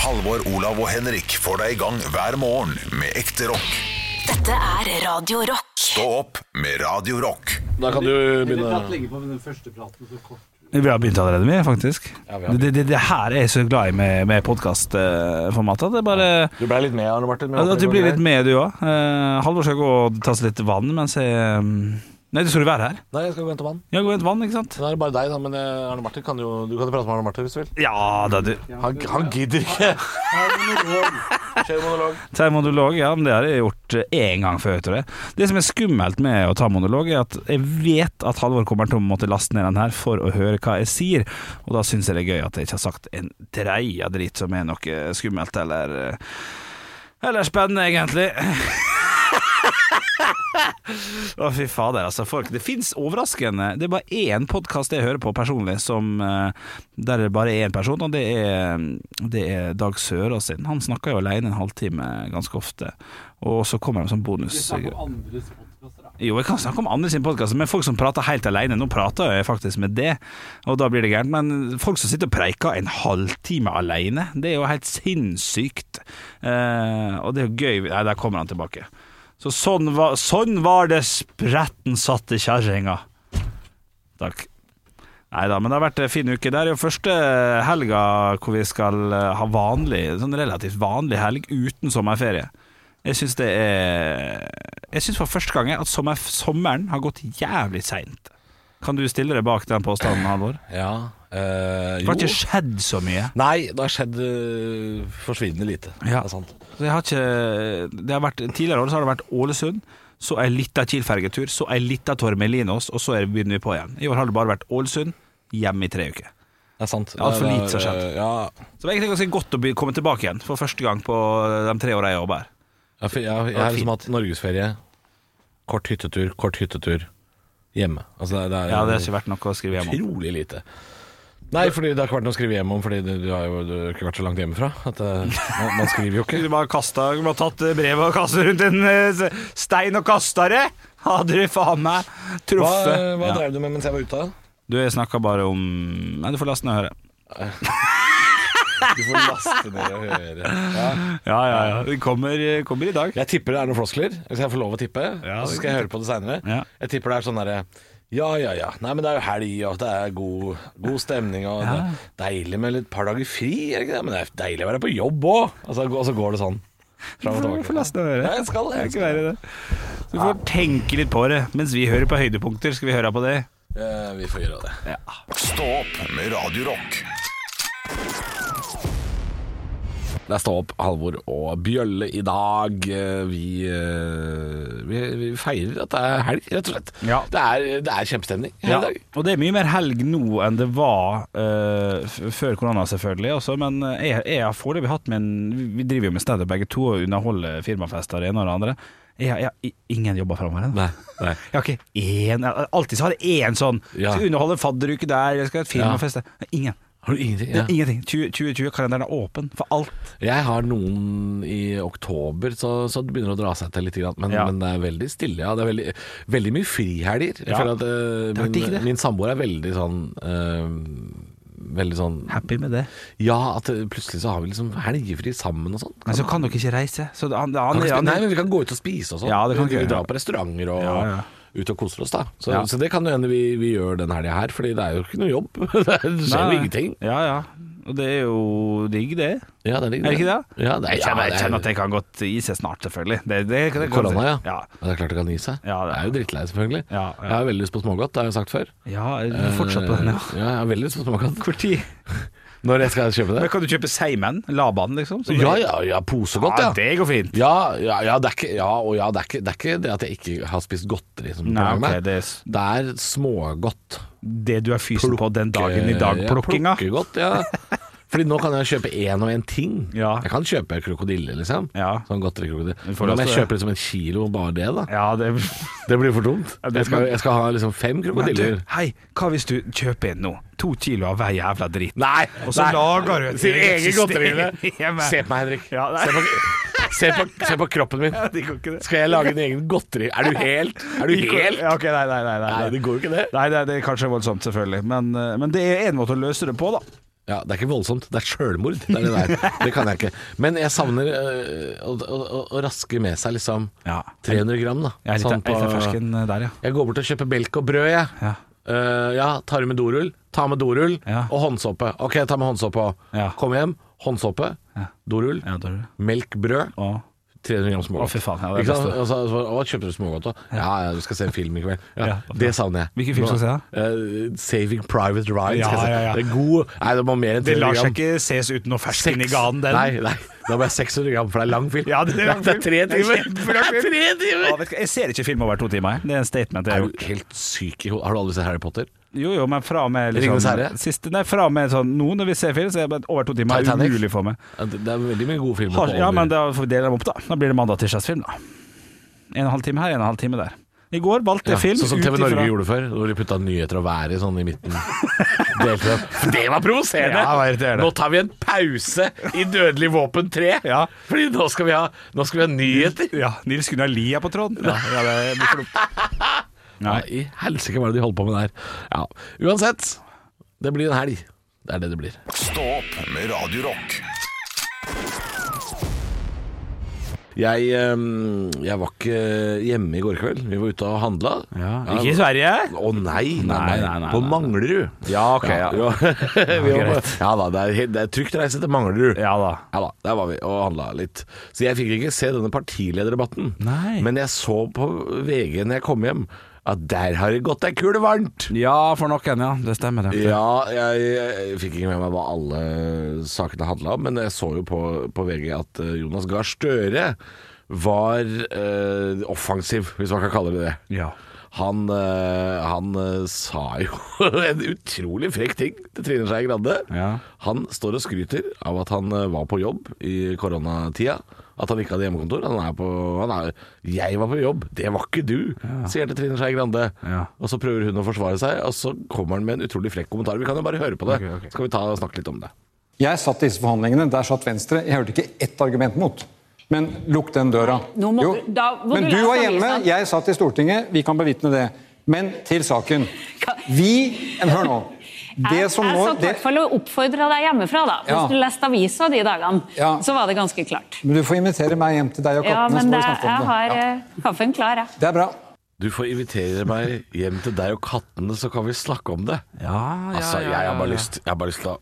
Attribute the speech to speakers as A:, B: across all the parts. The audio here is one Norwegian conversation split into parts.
A: Halvor, Olav og Henrik får deg i gang hver morgen med ekte rock.
B: Dette er Radio Rock.
A: Stå opp med Radio Rock.
C: Da kan du
D: Eller prat
C: begynne.
D: lenge på med den første praten så kort.
E: Vi har begynt allerede, vi, faktisk.
C: vi har
E: det, det, det her er jeg så glad i med, med podkastformatet. Det er bare
C: Du ble litt med, Arne Martin.
E: at du blir litt med, du òg. Halvor skal gå og ta seg litt vann mens jeg eh, Nei, du skal jo være her.
C: Nei, jeg skal gå og hente vann.
E: Ja, gå og hente vann, ikke sant?
C: Så da er det bare deg, da. Men eh, Arne Martin kan jo Du kan jo prate med Arne Martin hvis du vil.
E: Ja da, du.
C: Han, han gidder ikke. Kjør monolog.
E: Ta en monolog, ja, men det har jeg gjort eh, én gang før. Tror jeg. Det som er skummelt med å ta monolog, er at jeg vet at Halvor kommer til å måtte laste ned den her for å høre hva jeg sier, og da syns jeg det er gøy at jeg ikke har sagt en dreia dritt som er noe skummelt eller eh, Eller spennende, egentlig. Å, fy fader, altså. Folk, det fins overraskende Det er bare én podkast jeg hører på personlig som eh, der det bare er én person, og det er, det er Dag Sørås sin. Han snakker jo alene en halvtime ganske ofte, og så kommer han som
D: Vi
E: bonus.
D: snakker om andres podkaster, da.
E: Jo, jeg kan snakke om andre sin podkast, men folk som prater helt alene Nå prater jeg faktisk med det, og da blir det gærent. Men folk som sitter og preiker en halvtime alene, det er jo helt sinnssykt. Eh, og det er jo gøy Nei, der kommer han tilbake. Så sånn var, sånn var det spretten satte kjerringa. Takk. Nei da, men det har vært en fin uke. Det er jo første helga hvor vi skal eh, ha vanlig, sånn relativt vanlig helg uten sommerferie. Jeg syns det er Jeg syns for første gang at sommer, sommeren har gått jævlig seint. Kan du stille deg bak den påstanden, Halvor?
C: Ja. eh,
E: Det
C: jo.
E: har ikke skjedd så mye.
C: Nei, det har skjedd eh, forsvinnende lite.
E: Ja.
C: Det er sant.
E: Så jeg har ikke det har vært, Tidligere år så har det vært Ålesund, så ei lita Kiel-fergetur, så ei lita Tormelinos, og så er, begynner vi på igjen. I år har det bare vært Ålesund, hjemme i tre uker.
C: Det er sant.
E: Ja, for
C: Det er-
E: lite har skjedd.
C: Ja,
E: Så det er egentlig ganske godt å be- komme tilbake igjen for første gang på eh, de tre åra jeg jobber her.
C: jeg, jeg, jeg,
E: var
C: har liksom hatt norgesferie. Kort hyttetur, kort hyttetur. Hjemme. Altså, det, det er,
E: Ja, det har ikke vært noe å skrive hjem om.
C: Utrolig lite. Nei, fordi det har ikke vært noe å skrive hjem om, fordi du, du har jo du har ikke vært så langt hjemmefra. At eh, man, man skriver jo ikke.
E: Du bare kasta, du bare tatt eh, brevet og kasta rundt en eh, s- stein og kasta det! Hadde du faen meg
C: Hva, eh,
E: truffet?
C: hva
E: Ja.
C: drev du med mens jeg var ute? da?
E: Du, jeg snakka bare om Nei, du får laste ned og høre.
C: Du får laste ned og høre. Ja.
E: Ja, ja, ja. Det kommer, eh, kommer i dag.
C: Jeg tipper det er noen floskler, hvis jeg får lov å tippe.
E: Ja,
C: og så
E: det
C: skal jeg høre på det seinere.
E: Ja.
C: Jeg tipper det er sånn derre ja, ja, ja. Nei, men det er jo helg, og det er god, god stemning. Og det er deilig med et par dager fri. Er det ikke det? Men det er deilig å være på jobb òg. Og, så- og så går det sånn. Fram og
E: Du får
C: tilbake.
E: laste ned og høre.
C: Ja, jeg skal det.
E: Det kan ikke være det. Du får tenke litt på det. Mens vi hører på høydepunkter, skal vi høre på det.
C: Eh, vi får gjøre det.
A: Stå opp med Radio Rock.
C: Det er Stå opp, Halvor og Bjølle i dag. Eh, Vi, eh, vi, vi feirer at det er helg, rett og slett.
E: Ja.
C: Det, er, det er kjempestemning her
E: Ja,
C: i dag.
E: og det er mye mer helg nå enn det var eh, f- før korona, selvfølgelig. Også, men eh, jeg, jeg har foreløpig hatt min Vi driver jo med standup begge to og underholder firmafester det ene og det andre. Jeg, har- jeg har i- ingen jobber framover ennå.
C: Nei, nei.
E: Jeg har ikke én jeg- Alltid så har jeg én sånn.
C: Ja.
E: Skal underholde fadderuke der, jeg skal ha et firmafest der. Ingen.
C: Har du ingenting?
E: Det er ingenting. 20- 2020-kalenderen er åpen for alt.
C: Jeg har noen i oktober, så, så det begynner å dra seg til litt. grann, Men,
E: Ja.
C: men det er veldig stille. Ja. Det er veldig, veldig mye frihelger. Jeg
E: Ja.
C: føler at eh,
E: Det er digg,
C: min,
E: det.
C: min samboer er veldig sånn eh, Veldig sånn
E: Happy med det.
C: Ja, at eh, plutselig så har vi liksom helgefri sammen og sånn.
E: Men så kan dere ikke reise. Så det- han,
C: Kan
E: han,
C: ikke spi-
E: han,
C: Nei, men vi kan gå ut og spise og sånn.
E: Ja, det kan
C: vi,
E: vi
C: vi
E: gjøre.
C: drar på restauranter og
E: Ja, ja.
C: ut og koser oss, da. Så,
E: Ja.
C: så det kan jo hende vi, vi gjør den helga her, Fordi det er jo ikke noe jobb. det skjer jo ingenting.
E: Ja, ja. Og det er jo digg, det.
C: Ja, det er,
E: Er det ikke det?
C: Ja, det er,
E: Jeg kjenner, jeg
C: ja, det
E: kjenner at
C: er,
E: det kan godt gi seg snart, selvfølgelig. Det, det, det, kan-
C: Korona, ja.
E: ja.
C: Men Det er klart det kan gi seg.
E: Ja, det
C: det
E: er-
C: er jo drittlei, selvfølgelig.
E: Ja, ja.
C: Jeg har veldig lyst på smågodt, det har jeg sagt før.
E: Ja, du er fortsatt på den, ja.
C: Eh, jeg har veldig lyst på smågodt.
E: Hvor tid?
C: Når jeg skal kjøpe det?
E: Men kan du kjøpe Seimen? Laban, liksom? Som
C: Ja,
E: det-
C: ja, ja, posegodt, ja.
E: Det går fint.
C: Ja, ja, ja, det er ikke, ja, og ja, det er ikke det, er ikke det at jeg ikke har spist godteri. Som
E: Nei,
C: plager meg.
E: ok, det er s-
C: det er smågodt.
E: Det du er fysen på den dagen i dag,
C: Ja,
E: plukkinga.
C: Plukkegodt, ja. Fordi nå kan jeg kjøpe én og én ting.
E: Ja.
C: Jeg kan kjøpe krokodille, liksom.
E: Ja.
C: Sånn godterikrokodille.
E: Vi får
C: Men om
E: lov
C: jeg
E: til det.
C: kjøper liksom en kilo bare det, da.
E: Ja, det
C: Det blir for dumt.
E: Ja, det
C: Jeg skal,
E: skal-
C: jeg skal ha liksom fem
E: Men du,
C: krokodiller.
E: hei, hva hvis du kjøper inn nå? To kilo av hver jævla dritt.
C: Nei!
E: Og så
C: nei.
E: lager du et
C: Sin
E: eget
C: egen
E: system
C: godterille.
E: hjemme.
C: Se på meg, Henrik.
E: Ja, nei.
C: se, på, se, på, se på kroppen min.
E: Det går ikke det.
C: Skal jeg lage en egen godteri? Er du helt? Er du helt?
E: Ja, ok, nei, nei, nei, nei,
C: Nei, det går jo ikke det.
E: Nei, det, er- det er kanskje voldsomt, selvfølgelig. Men, eh, men det er en måte å løse det på, da.
C: Ja, Det er ikke voldsomt, det er sjølmord. Det, er det, der. det kan jeg ikke. Men jeg savner øh, å, å, å- å raske med seg liksom
E: Ja.
C: 300 gram, da.
E: Jeg er litt,
C: Sånn på-
E: jeg er litt fersken eh, der, ja.
C: Jeg går bort og kjøper belk og brød, jeg.
E: Ja.
C: Eh, ja, tar med dorull. Ta med dorull
E: Ja.
C: og håndsåpe. Ok, ta med håndsåpe òg.
E: Ja.
C: Kom hjem, håndsåpe,
E: Ja.
C: dorull,
E: ja da er det.
C: melk, brød.
E: Og,
C: 300 gram smågodt.
E: Å, fy faen, ja, det er
C: Ikke sant? Altså,
E: beste.
C: Og så, så, å, kjøpte du smågodt òg? Ja. ja, du skal se en film i kveld. Ja,
E: Ja.
C: det savner jeg.
E: Hvilken film skal du se, da?
C: Eh, 'Saving Private Ryan'.
E: Ja,
C: skal jeg se.
E: ja, ja.
C: Det er god Nei, det må mer enn
E: det
C: 300
E: lar
C: gram.
E: seg ikke ses uten noe fersken i
C: Seks-
E: ganen, den.
C: Nei, nei, da ble jeg 600 gram, for det er lang film.
E: Ja, det er lang
C: det
E: film.
C: tre
E: Det er
C: timer!
E: kjempelang film.
C: tre
E: Ja,
C: timer!
E: vet du hva, jeg ser ikke film over to timer. jeg. Det er en statement. Jeg
C: Er
E: har
C: du
E: gjort.
C: helt syk i hodet? Har du aldri sett Harry Potter?
E: Jo, jo, men fra og med liksom
C: Ringenes herre?
E: siste, Nei, fra og med sånn nå når vi ser film, så er det bare over to timer
C: Titanic?
E: umulig for meg.
C: Ja, Det det er veldig mye gode filmer.
E: Har,
C: på
E: ja,
C: over-
E: men da får vi dele dem opp, da. Da blir det mandag-tirsdagsfilm, da. En og en halv time her, en og en halv time der. I går valgte
C: Ja,
E: jeg film
C: Sånn som TV
E: ut
C: Norge
E: ifra-
C: gjorde før, hvor de putta nyheter og været sånn i midten. Delte dem. For det var provoserende!
E: Ja, det var irriterende.
C: nå tar vi en pause i Dødelig våpen 3,
E: Ja.
C: Fordi nå skal, vi ha, nå skal vi ha nyheter.
E: Ja, Nils Gunnar Lie er på tråden. Ja, ja, det blir klokt.
C: Ja,
E: Nei.
C: I helsike, hva er det de holder på med der? Ja. Uansett, det blir en helg. Det er det det blir.
A: Stå opp med Radio Rock.
C: Jeg, ehm, jeg var ikke hjemme i går kveld. Vi var ute og handla.
E: Ikke i Sverige?
C: Å nei, nei, nei,
E: Nei, nei, nei,
C: På
E: nei.
C: Manglerud. Ja,
E: ok, ja.
C: ja. Vi var på,
E: greit.
C: ja da, det er, helt- det er trygt å reise til Manglerud.
E: Ja da.
C: Ja da, der var vi og handla litt. Så jeg fikk ikke se denne partilederdebatten.
E: Nei.
C: Men jeg så på VG når jeg kom hjem, at der har det gått ei kule varmt!
E: Ja, for noen, ja. Det stemmer, det.
C: Ja, jeg, jeg fikk ikke med meg hva alle sakene handla om, men jeg så jo på, på VG at eh, Jonas Gahr Støre var eh, offensiv, hvis man kan kalle det det.
E: Ja.
C: Han, eh, han eh, sa jo en utrolig frekk ting til Trine Skei Grande.
E: Ja.
C: Han står og skryter av at han eh, var på jobb i koronatida. At han ikke hadde hjemmekontor. Han er på, han er, 'Jeg var på jobb, det var ikke du', sier til Trine Skei Grande.
E: Ja.
C: Og så prøver hun å forsvare seg, og så kommer han med en utrolig frekk kommentar. Vi kan jo bare høre på det.
E: Ok, ok.
C: Skal vi ta og snakke litt om det.
F: Jeg satt i disse forhandlingene, der satt Venstre. Jeg hørte ikke ett argument mot. Men lukk den døra.
G: Nå må
F: Jo.
G: du- da må
F: Men
G: du
F: du
G: lese
F: var hjemme,
G: avisen.
F: jeg satt i Stortinget. Vi kan bevitne det. Men til saken. Vi men Hør nå. Det som
G: jeg
F: nå
G: satt i
F: det,
G: hvert fall og oppfordra deg hjemmefra, da. Hvis
F: Ja.
G: du leste avisa de dagene,
F: Ja.
G: så var det ganske klart.
F: Men Du får invitere meg hjem til deg og
G: Ja,
F: kattene,
G: men
F: så må
G: det,
F: vi snakke
G: jeg
F: om det.
G: har
F: Ja.
G: eh, kaffen klar, jeg.
F: Det er bra.
C: Du får invitere meg hjem til deg og kattene, så kan vi snakke om det.
E: ja, ja,
C: Altså,
E: ja,
C: jeg har bare
E: ja.
C: lyst, jeg har bare lyst til å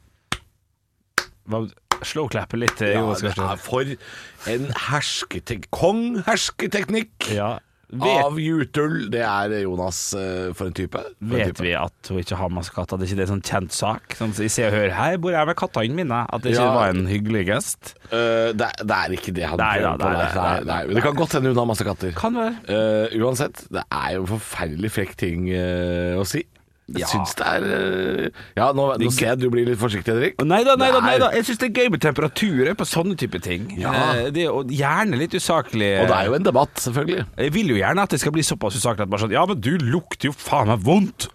E: Hva- Slå klappet litt til
C: Ja,
E: Jonas Gahr
C: det
E: Støre.
C: er for en hersketek kong hersketeknikk
E: Ja. Vet,
C: av Jutul. Det er Jonas eh, for en type. For en
E: vet
C: type.
E: vi at hun ikke har masse katter? Det er ikke det en sånn kjent sak? Sånn, I Se og Hør her bor jeg med kattene mine. At det ikke
C: Ja.
E: var en hyggelig gest?
C: Eh, det, er- det er ikke det han
E: Nei,
C: prøver på.
E: da, nei,
C: der.
E: nei,
C: Nei, nei. Men Det kan godt hende hun har masse katter.
E: Kan være.
C: Eh, uansett, det er jo en forferdelig frekk ting eh, å si. Jeg
E: Ja.
C: syns det er eh, Ja, nå, nå ser jeg at du blir litt forsiktig, Henrik.
E: Nei da, nei
C: Det
E: da,
C: er-
E: nei da. Jeg syns det er gøy med temperaturer på sånne type ting.
C: Ja.
E: Eh, Det, er jo gjerne litt usaklig.
C: Og det er jo en debatt, selvfølgelig.
E: Jeg vil jo gjerne at det skal bli såpass usaklig at bare sånn Ja, men du lukter jo faen meg vondt!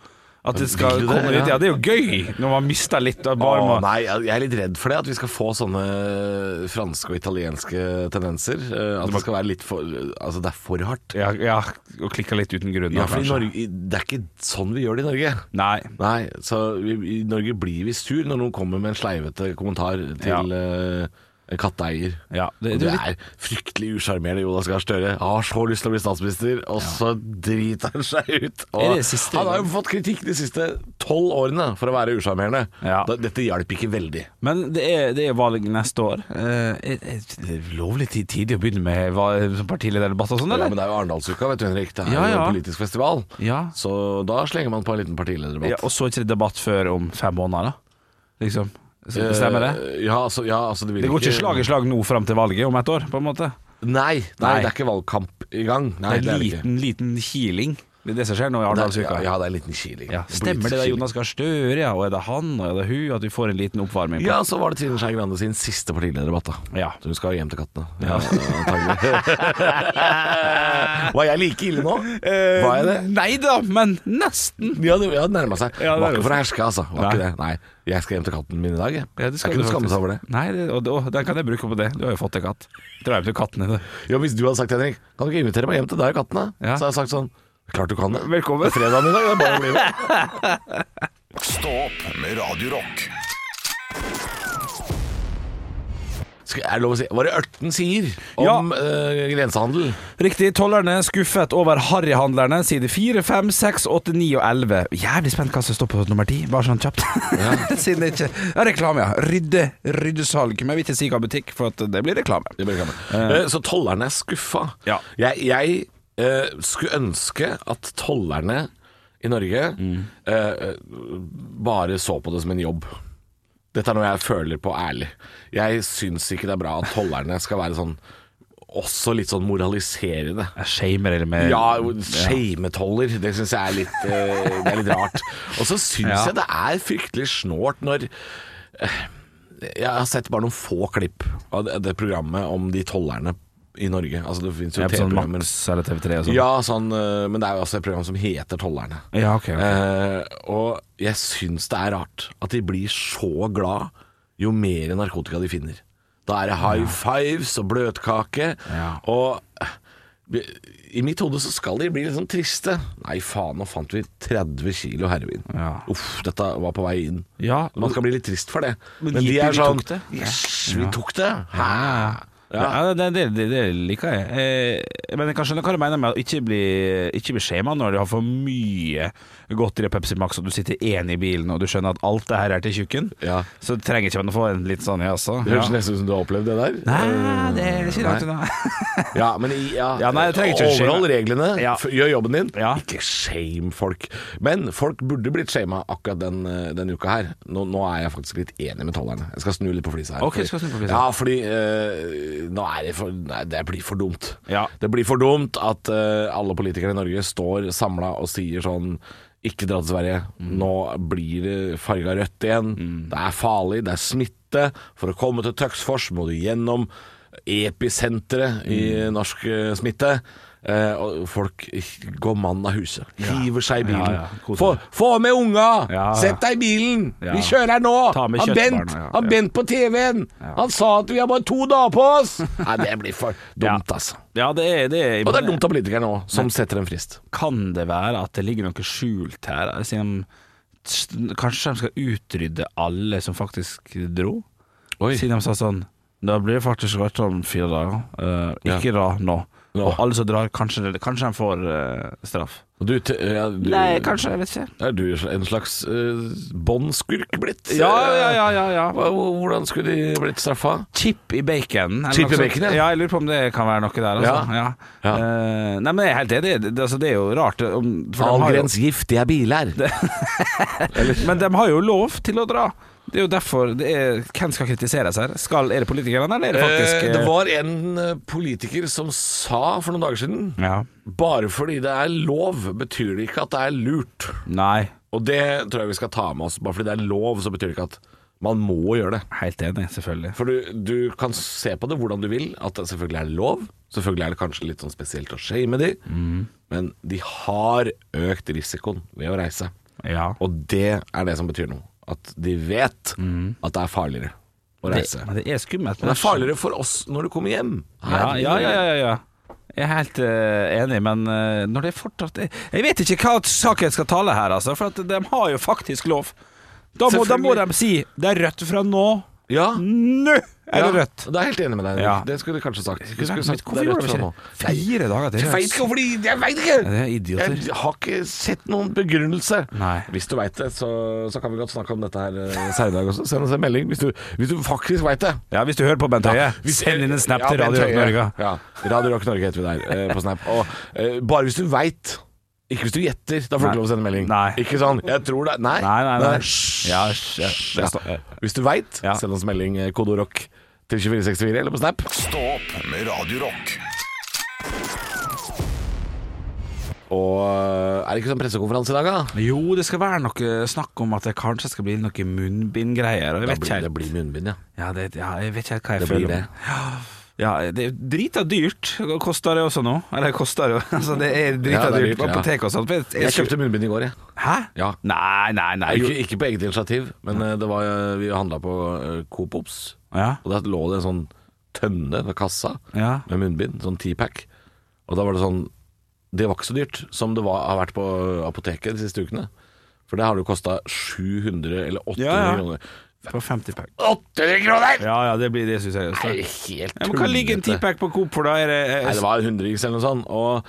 E: At det skal
C: Vil du det?
E: komme litt Ja, det er jo gøy når man mister litt av bare
C: Åh,
E: må-
C: nei, jeg jeg er litt redd for det. At vi skal få sånne franske og italienske tendenser. eh, At det skal være litt for Altså, det er for hardt.
E: ja, ja, og klikker litt uten grunn.
C: Ja,
E: da,
C: for i
E: kanskje.
C: Norge, i- det er ikke sånn vi gjør det i Norge.
E: Nei.
C: Nei, så vi, i Norge blir vi sur når noen kommer med en sleivete kommentar til eh, en katteeier.
E: Ja, det-
C: det, og
E: det
C: det
E: er
C: er fryktelig usjarmerende, Jonas Gahr Støre. Han har så lyst til å bli statsminister, og så driter han seg ut. Og
E: Er det siste
C: han har jo
E: gang?
C: fått kritikk de siste tolv årene for å være usjarmerende.
E: Ja.
C: Da- Dette hjalp ikke veldig.
E: Men det er, det er valg neste år. Eh, er- er det lovlig tid- tidlig å begynne med hva- som partilederdebatt og sånn,
C: Ja, men
E: eller?
C: det er jo Arendalsuka, vet du Henrik. Det er
E: Ja,
C: jo
E: ja.
C: en politisk festival.
E: Ja.
C: Så da slenger man på en liten partilederdebatt.
E: Ja, og så er ikke det debatt før om fem måneder, da? Liksom. Så- Stemmer det?
C: Eh, Ja, altså, ja, altså det, vil
E: Det går ikke slag i slag nå fram til valget om et år, på en måte?
C: Nei, nei,
E: Nei.
C: det er ikke valgkamp i gang. Nei,
E: Det er en liten, liten healing. Det er det som skjer nå i
C: Det er-
E: Arendalsuka.
C: Ja, det er en liten kiling.
E: Ja, stemmer det da, Jonas Gahr Støre, ja, og er det han, og er det hun, at vi får en liten oppvarming på
C: Ja, så var det Trine Skei Grande sin siste partilederdebatt, da.
E: Ja.
C: Så hun skal hjem til kattene. Ja, antagelig. Var jeg like ille nå? Var jeg det?
E: eh, Nei da, men nesten.
C: Ja, det, ja, det nærma seg.
E: Ja, det
C: var
E: nærmer
C: ikke for å herske, altså. Var ikke
E: Nei.
C: det. Nei, jeg skal hjem til katten min i dag, jeg.
E: Ja, det skal
C: jeg
E: du
C: kunne skamme
E: faktisk.
C: seg over det.
E: Nei, det, og, og den kan jeg bruke på det. Du har jo fått deg katt. Dra hjem til katten din.
C: Ja, Hvis du hadde sagt Henrik, kan du ikke invitere meg hjem til deg og kattene?
E: Ja.
C: Så hadde jeg sagt sånn Klart du kan det.
E: Velkommen.
C: Det er fredagen i dag, det er bare å bli med.
A: Stå opp med Radio Rock.
C: sk- er det lov å si, var det Ørten sier om eh, grensehandel?
E: Riktig. Tollerne skuffet over harryhandlerne. Side 4, 5, 6, 8, 9 og 11. Jævlig spent hva som står på nummer 10, bare sånn kjapt. Siden det ikke ja, Reklame, ja. Rydde, ryddesalg. Men jeg vil ikke si hva butikk, for at det blir reklame.
C: Det blir gammelt. Eh, så tollerne er skuffa.
E: Ja.
C: Jeg, jeg eh, skulle ønske at tollerne i Norge
E: Mm.
C: eh, bare så på det som en jobb. Dette er noe jeg føler på ærlig. Jeg syns ikke det er bra at tollerne skal være sånn også litt sånn moraliserende.
E: Jeg shamer eller sånn med
C: Ja, shametoller. Det syns jeg er litt, eh, det er litt rart. Og så syns
E: Ja.
C: jeg det er fryktelig snålt når eh, Jeg har sett bare noen få klipp av det, det programmet om de tollerne i Norge. Altså det fins jo
E: Ja, på sånn
C: TV-programmer
E: Max eller TV3 og sånn.
C: Ja, sånn, eh, men det er jo altså et program som heter Tollerne.
E: Ja, ok, ok.
C: Eh, og jeg syns det er rart at de blir så glad jo mer narkotika de finner. Da er det high fives og bløtkake.
E: Ja.
C: Og eh, i mitt hode så skal de bli litt sånn triste. Nei, faen, nå fant vi 30 kilo heroin.
E: Ja.
C: Uff, dette var på vei inn.
E: Ja.
C: Man skal bli litt trist for det.
E: Men
C: Men de
E: jippi,
C: er
E: vi
C: sånn
E: tok det.
C: Yes, vi tok det! Hæ?
E: Ja, det, det, det, det liker jeg. Eh, men jeg kan skjønne hva du mener med å ikke bli, ikke bli skjema når du har for mye godteri og Pepsi Max, og du sitter én i bilen og du skjønner at alt det her er til tjukken.
C: Ja.
E: Så trenger ikke man å få en litt sånn jaså.
C: Det høres nesten ut som du har opplevd det der. Eh,
E: Nei, det er ikke langt unna.
C: Ja, men i- ja,
E: Ja, nei, det trenger ikke å skje.
C: Overhold reglene,
E: Ja.
C: f- gjør jobben din.
E: Ja.
C: Ikke shame folk. Men folk burde blitt shama akkurat den, eh, denne uka her. Nå, nå er jeg faktisk litt enig med tollerne. Jeg skal snu litt på flisa her.
E: Ok,
C: fordi-
E: skal snu på flisa.
C: Ja, fordi eh, nå er det for Nei, det blir for dumt.
E: Ja.
C: Det blir for dumt at eh, alle politikere i Norge står samla og sier sånn ikke dra til Sverige.
E: Mm.
C: Nå blir det farga rødt igjen. Det er farlig, det er smitte. For å komme til Tøksfors må du gjennom episenteret i
E: Mm.
C: norsk eh, smitte. Eh, og folk går mann av huset. Hiver seg i bilen.
E: Ja, ja. Kos
C: Få, få med unga!
E: Ja, ja.
C: Sett deg i bilen!
E: Ja.
C: Vi kjører nå!
E: Ta med
C: Han
E: kjøttbarna,
C: Bent,
E: ja.
C: han
E: Ja.
C: Bent på TV-en! Han sa at vi har bare to dager på oss! Nei, det blir for dumt, altså.
E: Ja, det er, det er
C: Og det er dumt av politikerne òg, som setter en frist.
E: Kan det være at det ligger noe skjult her? Siden de, kanskje de skal utrydde alle som faktisk dro? Siden de sa sånn Da blir det faktisk rødt om fire dager. Eh, ikke dra nå.
C: Nå.
E: Og alle som drar, kanskje, kanskje de får eh, straff.
C: Og Du, t- ja, du,
E: Nei, Eh, kanskje. Jeg vet ikke.
C: Er du en slags uh, båndskurk blitt?
E: Ja, ja, ja. ja,
C: Hva-
E: ja.
C: Hvordan skulle de blitt straffa?
E: Chip i bacon. eller
C: Chip
E: noe
C: i
E: sånt.
C: bacon, ja.
E: ja. Jeg lurer på om det kan være noe der, altså. Ja.
C: Ja.
E: Eh, nei, men jeg er helt enig. Det, altså, det er jo rart. Om, for de har jo-
C: giftige biler.
E: Men de har jo lov til å dra. Det er jo derfor det er, Hvem skal kritiseres her? Skal, er det politikerne, eller er det faktisk
C: Eh, det var en eh, politiker som sa for noen dager siden
E: eh, Ja.
C: Bare fordi det er lov, betyr det ikke at det er lurt.
E: Nei,
C: Og det tror jeg vi skal ta med oss. Bare fordi det er lov, så betyr det ikke at man må gjøre det.
E: helt enig, selvfølgelig.
C: For du, du kan se på det hvordan du vil, at det selvfølgelig er lov. Selvfølgelig er det kanskje litt sånn spesielt å shame de, men de har økt risikoen ved å reise.
E: Ja.
C: Og det er det som betyr noe. At de vet at det er farligere å
E: Det,
C: reise.
E: men det er skummelt.
C: Men det er farligere for oss når du kommer hjem.
E: Ja,
C: Her-
E: ja, ja, ja, ja. Jeg er helt eh, enig, men eh, når det er fortsatt Jeg jeg vet ikke hva saken skal tale her, altså, for at de har jo faktisk lov. Da må, da må de
C: Selvfølgelig.
E: si det er rødt fra nå.
C: Ja,
E: Nå Mm. er det
C: ja.
E: rødt.
C: Da er jeg helt enig med deg.
E: Ja.
C: Det skulle du kanskje sagt. Du skulle sagt
E: Hvorfor gjorde de ikke det? Fire dager til.
C: Jeg veit ikke hvorfor de Jeg vet ikke!
E: det er idioter.
C: Jeg har ikke sett noen begrunnelse.
E: Nei.
C: Hvis du veit det, så, så kan vi godt snakke om dette her eh, senere i dag også. Send oss en melding hvis du, hvis du faktisk veit det.
E: Ja, hvis du hører på Bent Høie,
C: Hvis-
E: send inn en snap til
C: Bent
E: Radio Rock
C: Høie.
E: Norge.
C: Ja, Radio Rock Norge heter vi der eh, på Snap. Og eh, bare hvis du veit. Ikke hvis du gjetter, da får du
E: Nei.
C: ikke lov å sende melding.
E: Nei.
C: Ikke sånn 'jeg tror det' Nei.
E: Nei, nei, nei.
C: Hysj.
E: Ja, hysj, ja, det
C: Ja.
E: står-
C: Hvis du veit,
E: Ja.
C: send oss melding eh, kode rock til 2464 eller på Snap.
A: Stå opp med Radio Rock.
C: Og eh, er det ikke sånn pressekonferanse i dag, da?
E: Jo, det skal være noe snakk om at det kanskje skal bli noe munnbindgreier. og
C: Da
E: Jeg vet
C: blir,
E: ikke
C: det
E: helt
C: blir munnbind, ja.
E: ja, det, ja, jeg vet ikke helt hva jeg
C: Det blir
E: føler om.
C: det.
E: Ja, ja, det er drita dyrt, koster det også nå. Eller koster det jo, altså det er
C: Ja,
E: drita
C: det er
E: dyrt.
C: dyrt, ja.
E: Apotek og sånt. men jeg-
C: Jeg kjøpte munnbind i går, jeg.
E: Hæ?
C: Ja.
E: Nei, nei, nei.
C: Ikke,
E: Jo.
C: ikke på eget initiativ, men eh, det var, eh, vi handla på eh, Coop Ops.
E: Ja.
C: Og der lå det en sånn tønne ved kassa
E: Ja.
C: med munnbind, sånn teapack. Og da var det sånn Det var ikke så dyrt som det var, har vært på eh, apoteket de siste ukene. For det har det jo kosta 700 eller 800
E: Ja, ja.
C: kroner.
E: For 50 pack.
C: 800 kroner!
E: Ja, ja, det blir det, syns
C: Det er
E: jeg. Også.
C: helt
E: Ja, men hva ligger en
C: tullete.
E: 10-pack på Coop for, da? Er det,
C: Nei, det var en hundrings eller noe sånt. Og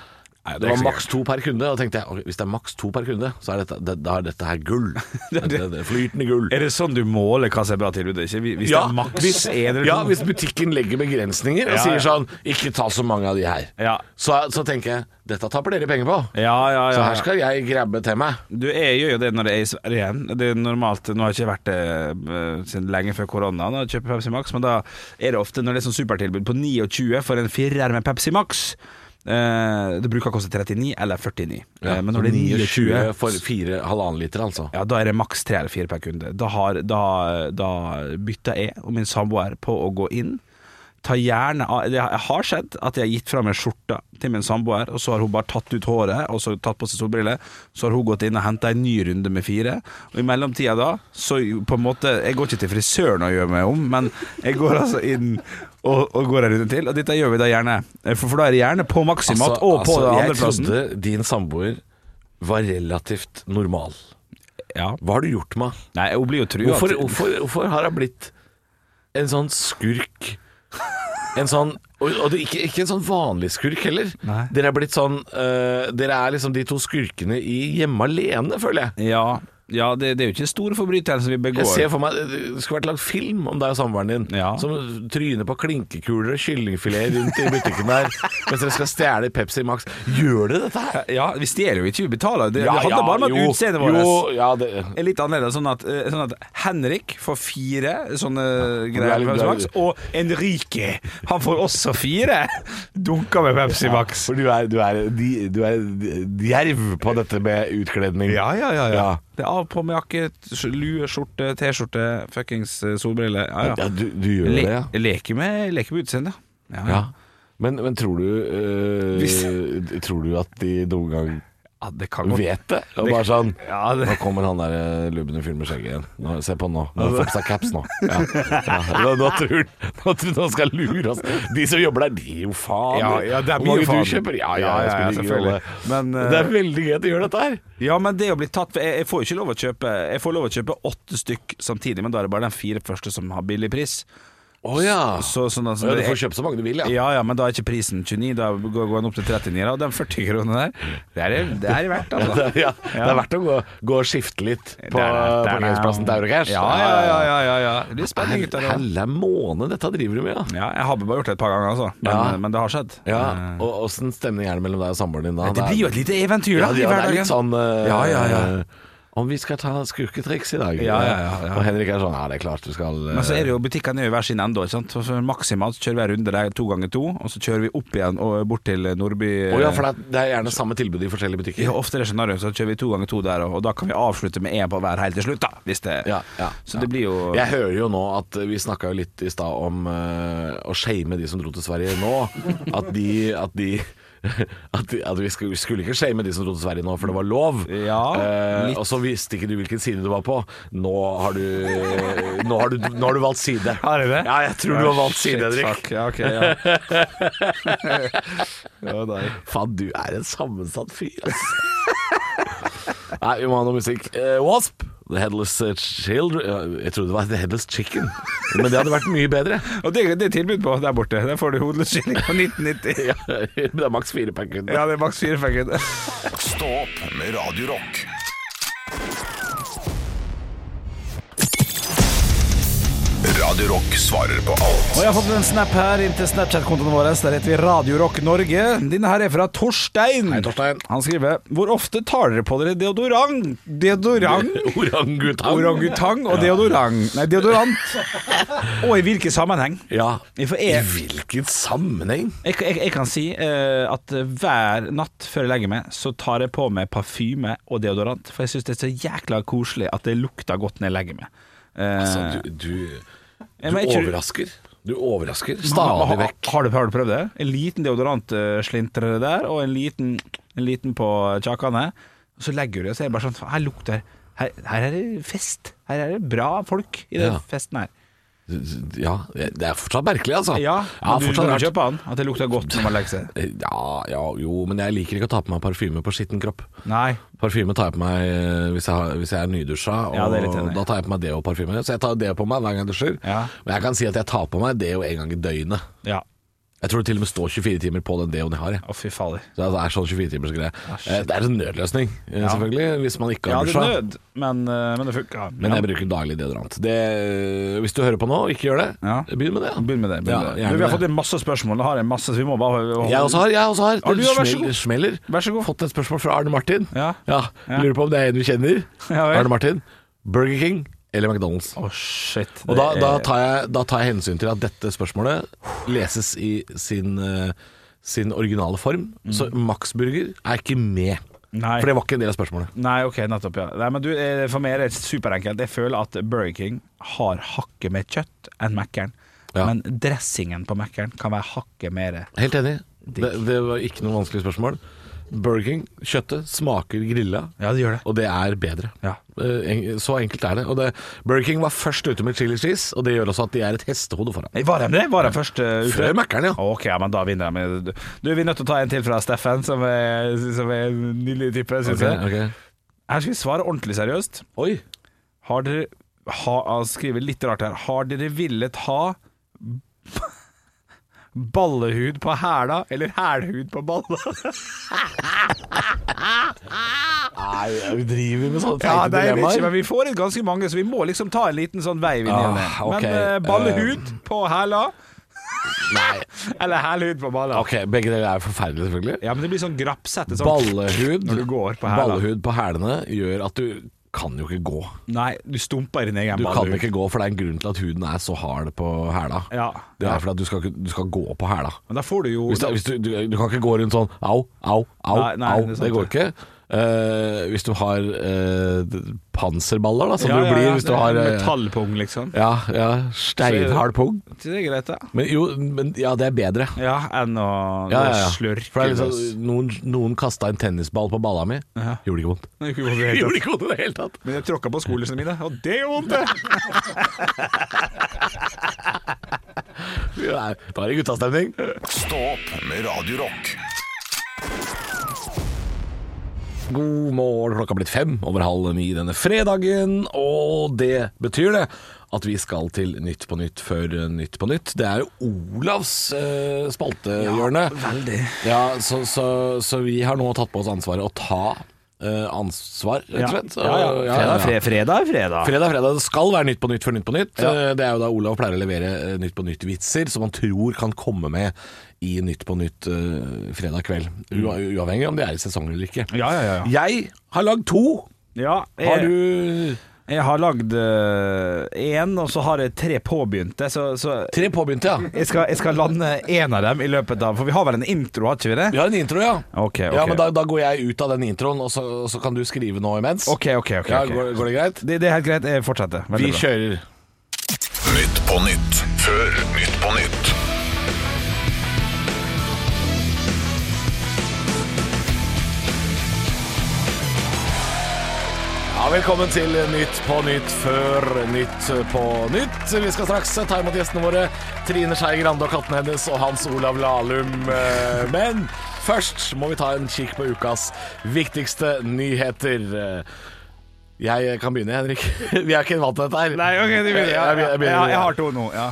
E: Nei,
C: det
E: er
C: var
E: ikke så
C: maks to per kunde. Og tenkte jeg ok, hvis det er maks to per kunde, så er dette, det, da er dette her gull. det, det, det, flytende gull.
E: gærent. Er det sånn du måler hva som er bra tilbud? Ikke? Hvis det
C: Ja,
E: er maks
C: hvis,
E: en eller
C: ja,
E: to?
C: hvis butikken legger begrensninger og
E: Ja,
C: sier
E: ja.
C: sånn Ikke ta så mange av de her.
E: Ja.
C: Så, så tenker jeg dette taper dere penger på.
E: ja, ja, ja.
C: Så her skal jeg grabbe til meg.
E: Du, jeg gjør jo det når jeg er i Sverige igjen. Det er normalt, Nå har jeg ikke vært det eh, siden lenge før korona, da jeg kjøper Pepsi Max, men da er det ofte når det er sånn supertilbud på 29 for en firer med Pepsi Max. Eh, det bruker å koste 39 eller 49, Eh, men når det er 29
C: for fire halvannen liter, altså.
E: ja, da er det maks tre eller fire per kunde. Da, har, da, da bytter jeg og min samboer på å gå inn. Ta gjerne av Det har skjedd at jeg har gitt fra meg skjorta til min samboer, og så har hun bare tatt ut håret og så tatt på seg solbriller. Så har hun gått inn og henta en ny runde med fire. Og i mellomtida da, så på en måte Jeg går ikke til frisøren og gjør meg om, men jeg går altså inn og, og går en runde til. Og dette gjør vi da gjerne. For, for da er det gjerne på maksimat og på den andre plassen.
C: Altså, Jeg trodde din samboer var relativt normal.
E: Ja.
C: Hva har du gjort med han?
E: Nei, hun blir jo trua.
C: Hvorfor, hvorfor, hvorfor har han blitt en sånn skurk? En sånn Og, og det, er ikke, ikke en sånn vanlig skurk heller.
E: Nei.
C: Dere er blitt sånn øh, Dere er liksom de to skurkene i Hjemme alene, føler jeg.
E: Ja, ja det, det er jo ikke store forbrytelser vi begår.
C: Jeg ser for meg Det skulle vært lagd film om deg og samboeren din
E: Ja.
C: som tryner på klinkekuler og kyllingfilet rundt i butikken der mens dere skal stjele Pepsi Max. Gjør dere dette her?
E: ja, vi stjeler jo ikke, vi betaler. Det, det handler bare om at
C: jo,
E: utseendet vårt
C: Jo, ja, det,
E: er litt annerledes. Sånn at, eh, sånn at Henrik får fire sånne
C: er
E: greier
C: litt glad
E: med Pepsi
C: i
E: Max,
C: det.
E: og Enrique han får også fire dunker med Pepsi Max.
C: for du er, du, er, de, du er djerv på dette med utkledning.
E: Ja, ja, ja. ja.
C: Ja.
E: Det er av på med jakke, sk- lue, skjorte, T-skjorte, fuckings eh, solbriller. Ja, ja.
C: Ja, du, du gjør
E: Le
C: det, ja.
E: leker med, leker med utseendet. Ja, ja.
C: ja. Men, men tror du øh,
E: Hvis-
C: Tror du at de noen gang
E: ja, det kan godt
C: vet det? Og bare sånn
E: Ja, det-
C: Nå kommer han der eh, lubne fyren med skjegget igjen. Nå, se på han nå. Nå får
E: Altså-
C: han på seg caps nå. Ja. Ja. Nå, nå tror han- nå tror han han skal lure oss. De som jobber der, de er jo faen.
E: Ja, ja, det er
C: Hvor
E: mye
C: mange
E: faen.
C: du kjøper? Ja, ja,
E: Ja,
C: jeg
E: ja,
C: spiller
E: ja,
C: ingen rolle.
E: selvfølgelig. Men, eh,
C: det er veldig gøy at de gjør dette her.
E: Ja, men det å bli tatt for jeg, jeg får jo ikke lov å kjøpe Jeg får lov å kjøpe åtte stykk samtidig, men da er det bare de fire første som har billig pris.
C: Å ja.
E: Så, sånn, altså,
C: Ah. ja. Du
E: det-
C: får kjøpt så mange du vil, ja.
E: ja, ja, men da er ikke prisen 29, da går går den opp til 39. da, Og de 40 kronene der, det er det er verdt, altså.
C: Ja, det er verdt å gå, gå og skifte litt på, på parkeringsplassen til Eurocash.
E: Ja, ja, ja. ja, ja, ja. Det blir spennende, gutter.
C: Helle
E: da.
C: helle måne, dette driver du med, ja.
E: Ja, jeg har bare gjort det et par ganger, altså. Men,
C: Ja.
E: men det har skjedd. Eh,
C: Ja, og Åssen stemning er det mellom deg og samboeren din da?
E: Det blir jo et lite eventyr, da,
C: ja, det- ja, det
E: i
C: er
E: hverdagen.
C: litt sånn eh,
E: Ja, ja, ja.
C: Om vi skal ta skurketriks i dag?
E: Ja, ja, ja, ja.
C: Og Henrik er sånn Ja, det er klart du skal eh,
E: Men så er det jo butikkene er jo i hver sin ende. ikke sant? Så for Maksimalt kjører vi en runde der to ganger to, og så kjører vi opp igjen og bort til Nordby.
C: eh, Å ja, for det er, det er gjerne samme tilbud i forskjellige butikker.
E: Ja, ofte er det scenario, så kjører vi to ganger to der, og og da kan vi avslutte med én på hver helt til slutt, da. Hvis det,
C: Ja, ja.
E: så det blir jo
C: Jeg hører jo nå at vi snakka jo litt i stad om eh, å shame de som dro til Sverige nå. At de At, de, at, de, at vi skulle, skulle ikke shame de som dro til Sverige nå, for det var lov.
E: Ja,
C: Eh,
E: litt.
C: og så visste ikke du hvilken side du var på. Nå har du Nå har du, nå har du valgt side.
E: Har jeg det?
C: Ja, jeg tror du har valgt
E: Shit,
C: side, Henrik.
E: fuck. Ja, ok, ja. ja, nei.
C: Faen, du er en sammensatt fyr, ass. Nei, vi må ha noe musikk. Eh, Wasp, The Headless eh, Children eh, Jeg trodde det var The Headless Chicken, men det hadde vært mye bedre.
E: Og det, det er tilbud på der borte. Der får du hodeløskilling på 1990.
C: Ja, men det er maks fire per kunde.
E: Ja, det er maks fire per kunde.
A: Stå opp med Radio Rock. Radio Rock svarer på alt
E: Og jeg har fått en snap her inn til Snapchat-kontoen vår. Der heter vi Radio Rock Norge. Denne her er fra Torstein.
C: Hei, Torstein.
E: Han skriver Hvor ofte tar dere på dere deodorant? Deodorant?
C: Orangutang.
E: Orangutang og deodorant. Nei, deodorant. Og i hvilken sammenheng?
C: Ja.
E: For
C: I
E: jeg,
C: hvilken sammenheng?
E: jeg, jeg, jeg kan si eh, at hver natt før jeg legger meg, så tar jeg på meg parfyme og deodorant. For jeg syns det er så jækla koselig at det lukter godt når jeg legger meg. Eh,
C: Altså, du du, du
E: jeg- men jeg tror-
C: overrasker. Du overrasker
E: har,
C: stadig
E: har,
C: vekk.
E: har, du, har du prøvd det? En liten deodorantslintrer der, og en liten, en liten på kjakene. Og Så legger du det, og så er det bare sånn Her lukter her, her er det fest. Her er det bra folk i den
C: Ja.
E: festen her.
C: Ja, det er fortsatt merkelig, altså.
E: Ja, men du
C: fortsatt
E: kan
C: rart. Eh,
E: kjøpe den. At det lukter godt når man legger seg.
C: Ja, ja, jo, men jeg liker ikke å ta på meg parfyme på skitten kropp.
E: Nei.
C: Parfyme tar jeg på meg eh, hvis jeg, har, hvis jeg er nydusja, og
E: Ja, det er litt enig.
C: da tar jeg på meg deo og parfyme. Så jeg tar deo på meg hver gang jeg dusjer.
E: Ja.
C: Men jeg kan si at jeg tar på meg deo en gang i døgnet.
E: Ja.
C: Jeg tror det til og med står 24 timer på den deoen jeg har. Jeg.
E: Å, fy fader.
C: Så Det er sånn 24-timersgreie. Eh, det er en nødløsning, eh,
E: Ah, Ja.
C: selvfølgelig, hvis man ikke
E: Ja,
C: har
E: det er
C: dusja.
E: nød, men, eh, men det funka.
C: Men
E: ja.
C: jeg bruker daglig deodorant. Det, eh, hvis du hører på nå og ikke gjør det,
E: Ja.
C: begynn med det. Ja.
E: Begynn med
C: Ja,
E: det. Begynn med det.
C: gjerne
E: Du, vi har
C: med
E: fått inn masse spørsmål. Da har jeg masse, så vi må bare
C: Jeg også har. jeg også har,
E: Har du, ja, vær så
C: Smell-
E: god.
C: Smeller.
E: Vær så god.
C: Fått et spørsmål fra Arne Martin.
E: Ja. Ja.
C: Lurer på om det er en du kjenner.
E: Ja, vel.
C: Arne Martin. Burger King eller McDonald's?
E: Å, shit.
C: Og da,
E: det
C: da,
E: er-
C: tar jeg, da tar jeg hensyn til at dette spørsmålet leses i sin, eh, sin originale form. Så Max Burger er ikke med.
E: Mm. Nei.
C: For det var ikke en del av spørsmålet.
E: Nei, ok, nettopp, ja. Nei, men du, eh, for meg er det superenkelt. Jeg føler at Burger King har hakket mer kjøtt enn Mækkern.
C: Ja.
E: Men dressingen på Mækkern kan være hakket mer
C: Helt enig. Det, det var ikke noe vanskelig spørsmål. Burger King, kjøttet smaker grilla,
E: Ja, det gjør det.
C: og det er bedre.
E: Ja.
C: Eh, en- Så enkelt er det. Og det. Burger King var først ute med chili cheese, og det gjør også at de er et hestehode foran.
E: Nei, Var de det? Var de først eh, ute?
C: Før Mækkern, ja.
E: Ok, ja, men da vinner de. Du, vi er nødt til å ta en til fra Steffen, som er, som er en nydelig type, syns jeg.
C: Ok, ok.
E: Her skal vi svare ordentlig seriøst.
C: Oi.
E: Har dere ha, Han skriver litt rart her. Har dere villet ha ballehud på hæla eller hælhud på balla?
C: Nei, vi driver med sånne
E: Ja,
C: teite
E: nei, jeg vet ikke,
C: dilemmaer.
E: men vi får inn ganske mange, så vi må liksom ta en liten sånn veiv inn i det.
C: Ah, ok.
E: Men eh, ballehud på hæla
C: Nei.
E: eller hælhud på balla?
C: Ok, begge deler er forferdelige, selvfølgelig.
E: Ja, men det blir sånn grapsete sånn
C: Ballehud
E: når du går på hæla.
C: Ballehud på hælene gjør at du kan jo ikke gå.
E: Nei, du stumper i din egen
C: Du kan
E: ballehud.
C: ikke gå, for det er en grunn til at huden er så hard på hæla.
E: Ja.
C: Det er fordi at du skal, ikke- du skal gå på hæla.
E: Men da får du jo
C: Hvis, det- hvis du, du, du kan ikke gå rundt sånn au, au, au,
E: Nei, nei,
C: au.
E: det er
C: Det,
E: sant,
C: går ikke. Eh, hvis du har eh, d- panserballer, da, som
E: Ja,
C: du
E: ja,
C: blir
E: ja,
C: hvis du
E: det er
C: har eh,
E: Metallpung, liksom.
C: Ja, ja, steinhard pung.
E: Det er greit, det.
C: Men jo, men, ja, det er bedre.
E: Ja, enn å
C: Ja, ja, ja.
E: slørke
C: For det er
E: løs.
C: liksom, noen noen kasta en tennisball på balla mi.
E: Ja.
C: Gjorde ikke vondt.
E: Nei, ikke vondt i det hele tatt.
C: Gjorde ikke vondt i det hele tatt.
E: Men jeg tråkka på skolene mine, og det gjør vondt! det.
C: Ja, Da er det guttastemning.
A: Stå opp med Radio Rock.
C: God morgen, klokka er blitt fem over halv ni denne fredagen, og det betyr det at vi skal til Nytt på nytt før Nytt på nytt. Det er jo Olavs eh, spaltehjørne.
E: veldig.
C: Ja, så, så, så vi har nå tatt på oss ansvaret å ta eh, ansvar, rett og slett. Og- ja, ja, ja.
E: fredag er fredag.
C: Fredag, fredag. Det skal være Nytt på Nytt før Nytt på Nytt.
E: Ja.
C: Eh, Det er jo da Olav pleier å levere eh, Nytt på Nytt-vitser som han tror kan komme med i Nytt på Nytt eh, fredag kveld. Ua- Uavhengig om det er i sesongen eller ikke.
E: Ja, ja, ja.
C: Jeg har lagd to.
E: Ja,
C: Har
E: jeg,
C: du
E: jeg har lagd én, og så har jeg tre påbegynte, så, så
C: tre påbegynte, ja?
E: jeg, skal, jeg skal lande én av dem i løpet av For vi har vel en intro, har ikke vi det?
C: Vi har en intro, ja.
E: Ok, ok.
C: Ja, men da, da går jeg ut av den introen, og så, og så kan du skrive nå imens.
E: OK, OK. ok,
C: Ja,
E: ok.
C: går, går det greit?
E: Det, det er helt greit. Jeg fortsetter.
C: Vi
E: Veldig bra.
C: kjører.
A: Nytt på nytt før Nytt på nytt.
C: Ja, Velkommen til Nytt på Nytt før Nytt på Nytt. Vi skal straks ta imot gjestene våre, Trine Skei Grande og katten hennes og Hans Olav Lahlum. Eh, Men først må vi ta en kikk på ukas viktigste nyheter. Eh, Jeg kan begynne, Henrik. Vi er ikke vant til dette her.
E: Nei, OK, det begynner. Ja,
C: Jeg
E: ja,
C: begynner.
E: ja, jeg har to nå. Ja.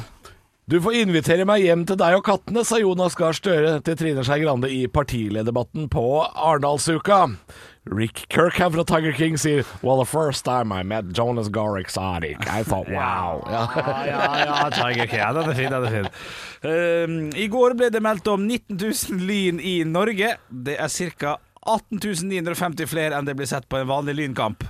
C: Du får invitere meg hjem til deg og kattene, sa Jonas Gahr Støre til Trine Skei Grande i partilederdebatten på Arendalsuka. Rick Kirkham fra Tiger King sier Well, the first time I met Jonas Gahr Exotic, I thought wow. Ja.
E: Ja, ja, Tiger King. Ja, den er fin, den er fin. Ehm, I går ble det meldt om 19 000 lyn i Norge. Det er ca. 18 950 flere enn det blir sett på en vanlig lynkamp.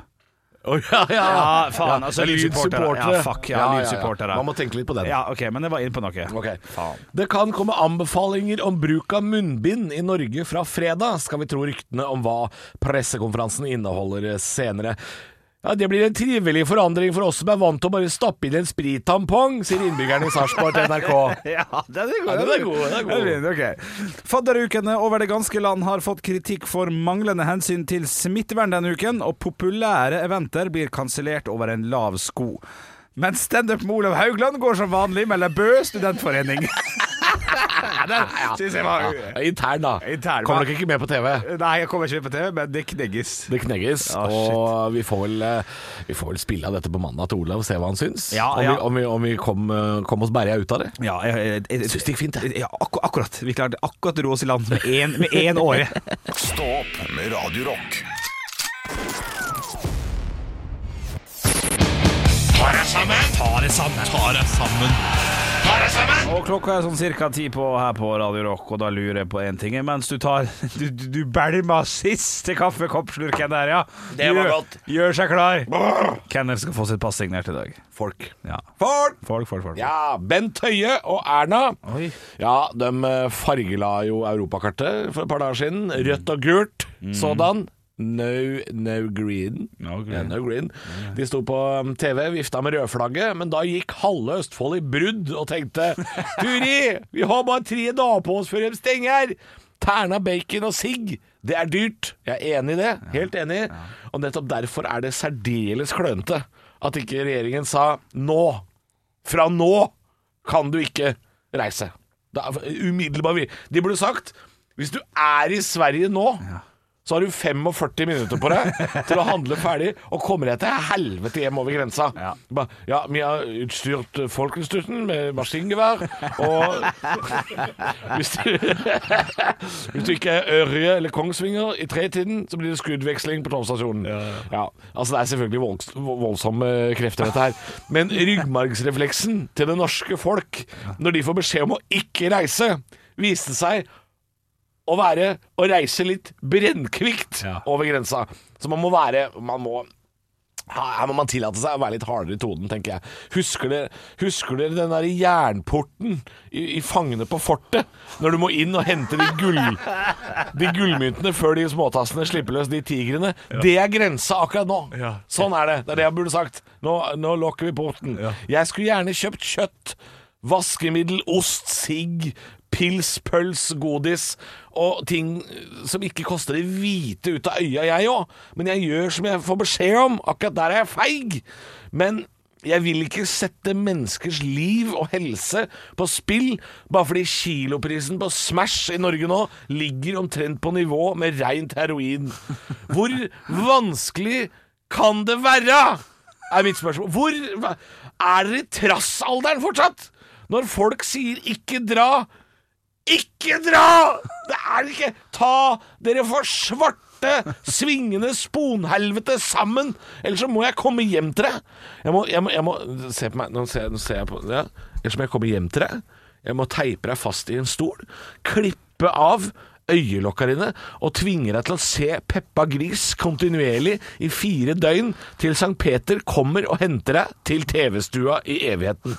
C: Å, ja, ja.
E: Ja, faen, altså,
C: lydsupportere.
E: lydsupportere. Ja, fuck, ja, lydsupportere.
C: Man må tenke litt på den.
E: Ja, OK, men jeg var inne på noe.
C: Ok.
E: Faen.
C: Det kan komme anbefalinger om bruk av munnbind i Norge fra fredag, skal vi tro ryktene om hva pressekonferansen inneholder senere. Ja, Det blir en trivelig forandring for oss som er vant til å bare stappe inn en sprittampong, sier innbyggeren i Sarpsborg til NRK.
E: Ja, den er god.
C: Ja, den er god, den er god.
E: Den er fin, ok. Fadderukene over det ganske land har fått kritikk for manglende hensyn til smittevern denne uken, og populære eventer blir kansellert over en lav sko. Men standup med Olav Haugland går som vanlig, melder Bø studentforening. Den syns jeg var
C: Ja, intern, da.
E: Intern,
C: Kommer
E: hva?
C: nok ikke med på TV.
E: Nei, jeg kommer ikke med på TV, men det knegges.
C: Det knegges,
E: Ah, shit.
C: og vi får, vel, eh, vi får vel spille av dette på mandag til Olav og se hva han syns.
E: Ja,
C: om,
E: ja.
C: Vi, om vi, om vi kom, eh, kom oss berga ut av det.
E: Ja, jeg, jeg, jeg, jeg
C: Syns det gikk fint, jeg.
E: Ja, akku- akkurat. Vi klarte akkurat å ro oss i land med én- med én åre.
A: Stå opp med Radio Rock.
E: Og klokka er sånn cirka ti på her på Radio Rock, og da lurer jeg på én ting. Mens du tar Du, du, du bælma siste kaffekoppslurken der, ja.
C: Det var
E: Gjør-
C: godt.
E: Gjør seg klar. Kenneth skal få sitt pass signert i dag.
C: Folk.
E: Ja.
C: Folk!
E: Folk, folk, folk.
C: Ja, Bent Høie og Erna.
E: Oi.
C: Ja, De eh, fargela jo europakartet for et par dager siden. Rødt og gult sådan. No, no green.
E: No green.
C: Ja, no green. De sto på um, TV, vifta med rødflagget, men da gikk halve Østfold i brudd og tenkte Turi, vi har bare tre dager på oss før de stenger! Terna bacon og sigg, det er dyrt. Jeg er enig i det. Helt enig. Og nettopp derfor er det særdeles klønete at ikke regjeringen sa nå fra nå kan du ikke reise. Da, umiddelbar vir- De burde sagt Hvis du er i Sverige nå, så har du 45 minutter på deg til å handle ferdig, og kommer deg til helvete hjem over grensa.
E: Ja.
C: Ba, ja vi har utstyrt eh, Folkeinstitutten med maskingevær, og hvis du, hvis du ikke er Ørje eller Kongsvinger i tretiden, så blir det skuddveksling på Tollstasjonen. Ja, altså det er selvfølgelig volds, voldsomme krefter, dette her. Men ryggmargsrefleksen til det norske folk når de får beskjed om å ikke reise, viste seg å være å reise litt brennkvikt
E: Ja.
C: over grensa. Så man må være Man må her må man tillate seg å være litt hardere i tonen, tenker jeg. Husker dere, husker dere den der jernporten i, i Fangene på fortet? Når du må inn og hente de, gull, de gullmyntene før de småtassene slipper løs de tigrene. Det er grensa akkurat nå.
E: Ja.
C: Sånn er det. Det er det jeg burde sagt. Nå, nå lokker vi porten. Jeg skulle gjerne kjøpt kjøtt, vaskemiddel, ost, sigg, pils, pøls, godis og ting som ikke koster det hvite ut av øya, jeg òg. Men jeg gjør som jeg får beskjed om. Akkurat der er jeg feig. Men jeg vil ikke sette menneskers liv og helse på spill bare fordi kiloprisen på Smash i Norge nå ligger omtrent på nivå med rent heroin. Hvor vanskelig kan det være? Er mitt spørsmål. Hvor hva- Er dere i trassalderen fortsatt? Når folk sier 'ikke dra', ikke dra! Det er det ikke! Ta dere for svarte, svingende sponhelvete sammen! Ellers så må jeg komme hjem til deg. Jeg må, jeg må, jeg må Se på meg, nå ser, jeg- nå ser jeg på ja. Ellers må jeg komme hjem til deg. Jeg må teipe deg fast i en stol, klippe av øyelokka dine og tvinge deg til å se Peppa Gris kontinuerlig i fire døgn til Sankt Peter kommer og henter deg til TV-stua i evigheten.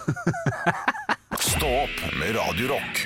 A: Stå opp med Radio Rock.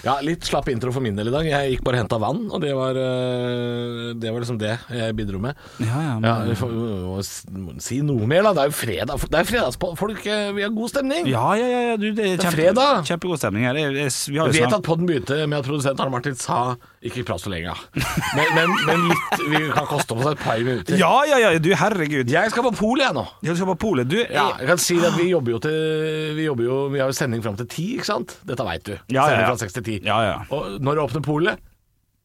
C: Ja, litt slapp intro for min del i dag. Jeg gikk bare og henta vann, og det var, øh, det var liksom det jeg bidro med.
E: Ja, ja, men-
C: vi får- vi må s- må Si noe mer, da. Det er jo fredag. Det er fredagspod. Folk, øh, vi har god stemning.
E: Ja, ja, ja, ja du, det er
C: Det er
E: kjempe,
C: fredag.
E: kjempegod stemning her. Jeg, jeg, vi har
C: Jeg vet
E: jo snakket
C: at podden begynte med at produsent Arne Martin sa 'ikke prat så lenge', men, men, men litt, vi kan koste oss et par minutter.
E: Ja, ja, ja, du herregud.
C: Jeg skal på polet, jeg nå.
E: Du skal på polet. Du,
C: Ja,
E: jeg-
C: jeg kan si at vi jobber jo til Vi, jobber jo, vi har jo sending fram til ti, ikke sant? Dette veit du.
E: Ja, ja,
C: sending
E: ja.
C: fra seks til ti.
E: Ja, ja.
C: Og når åpner polet?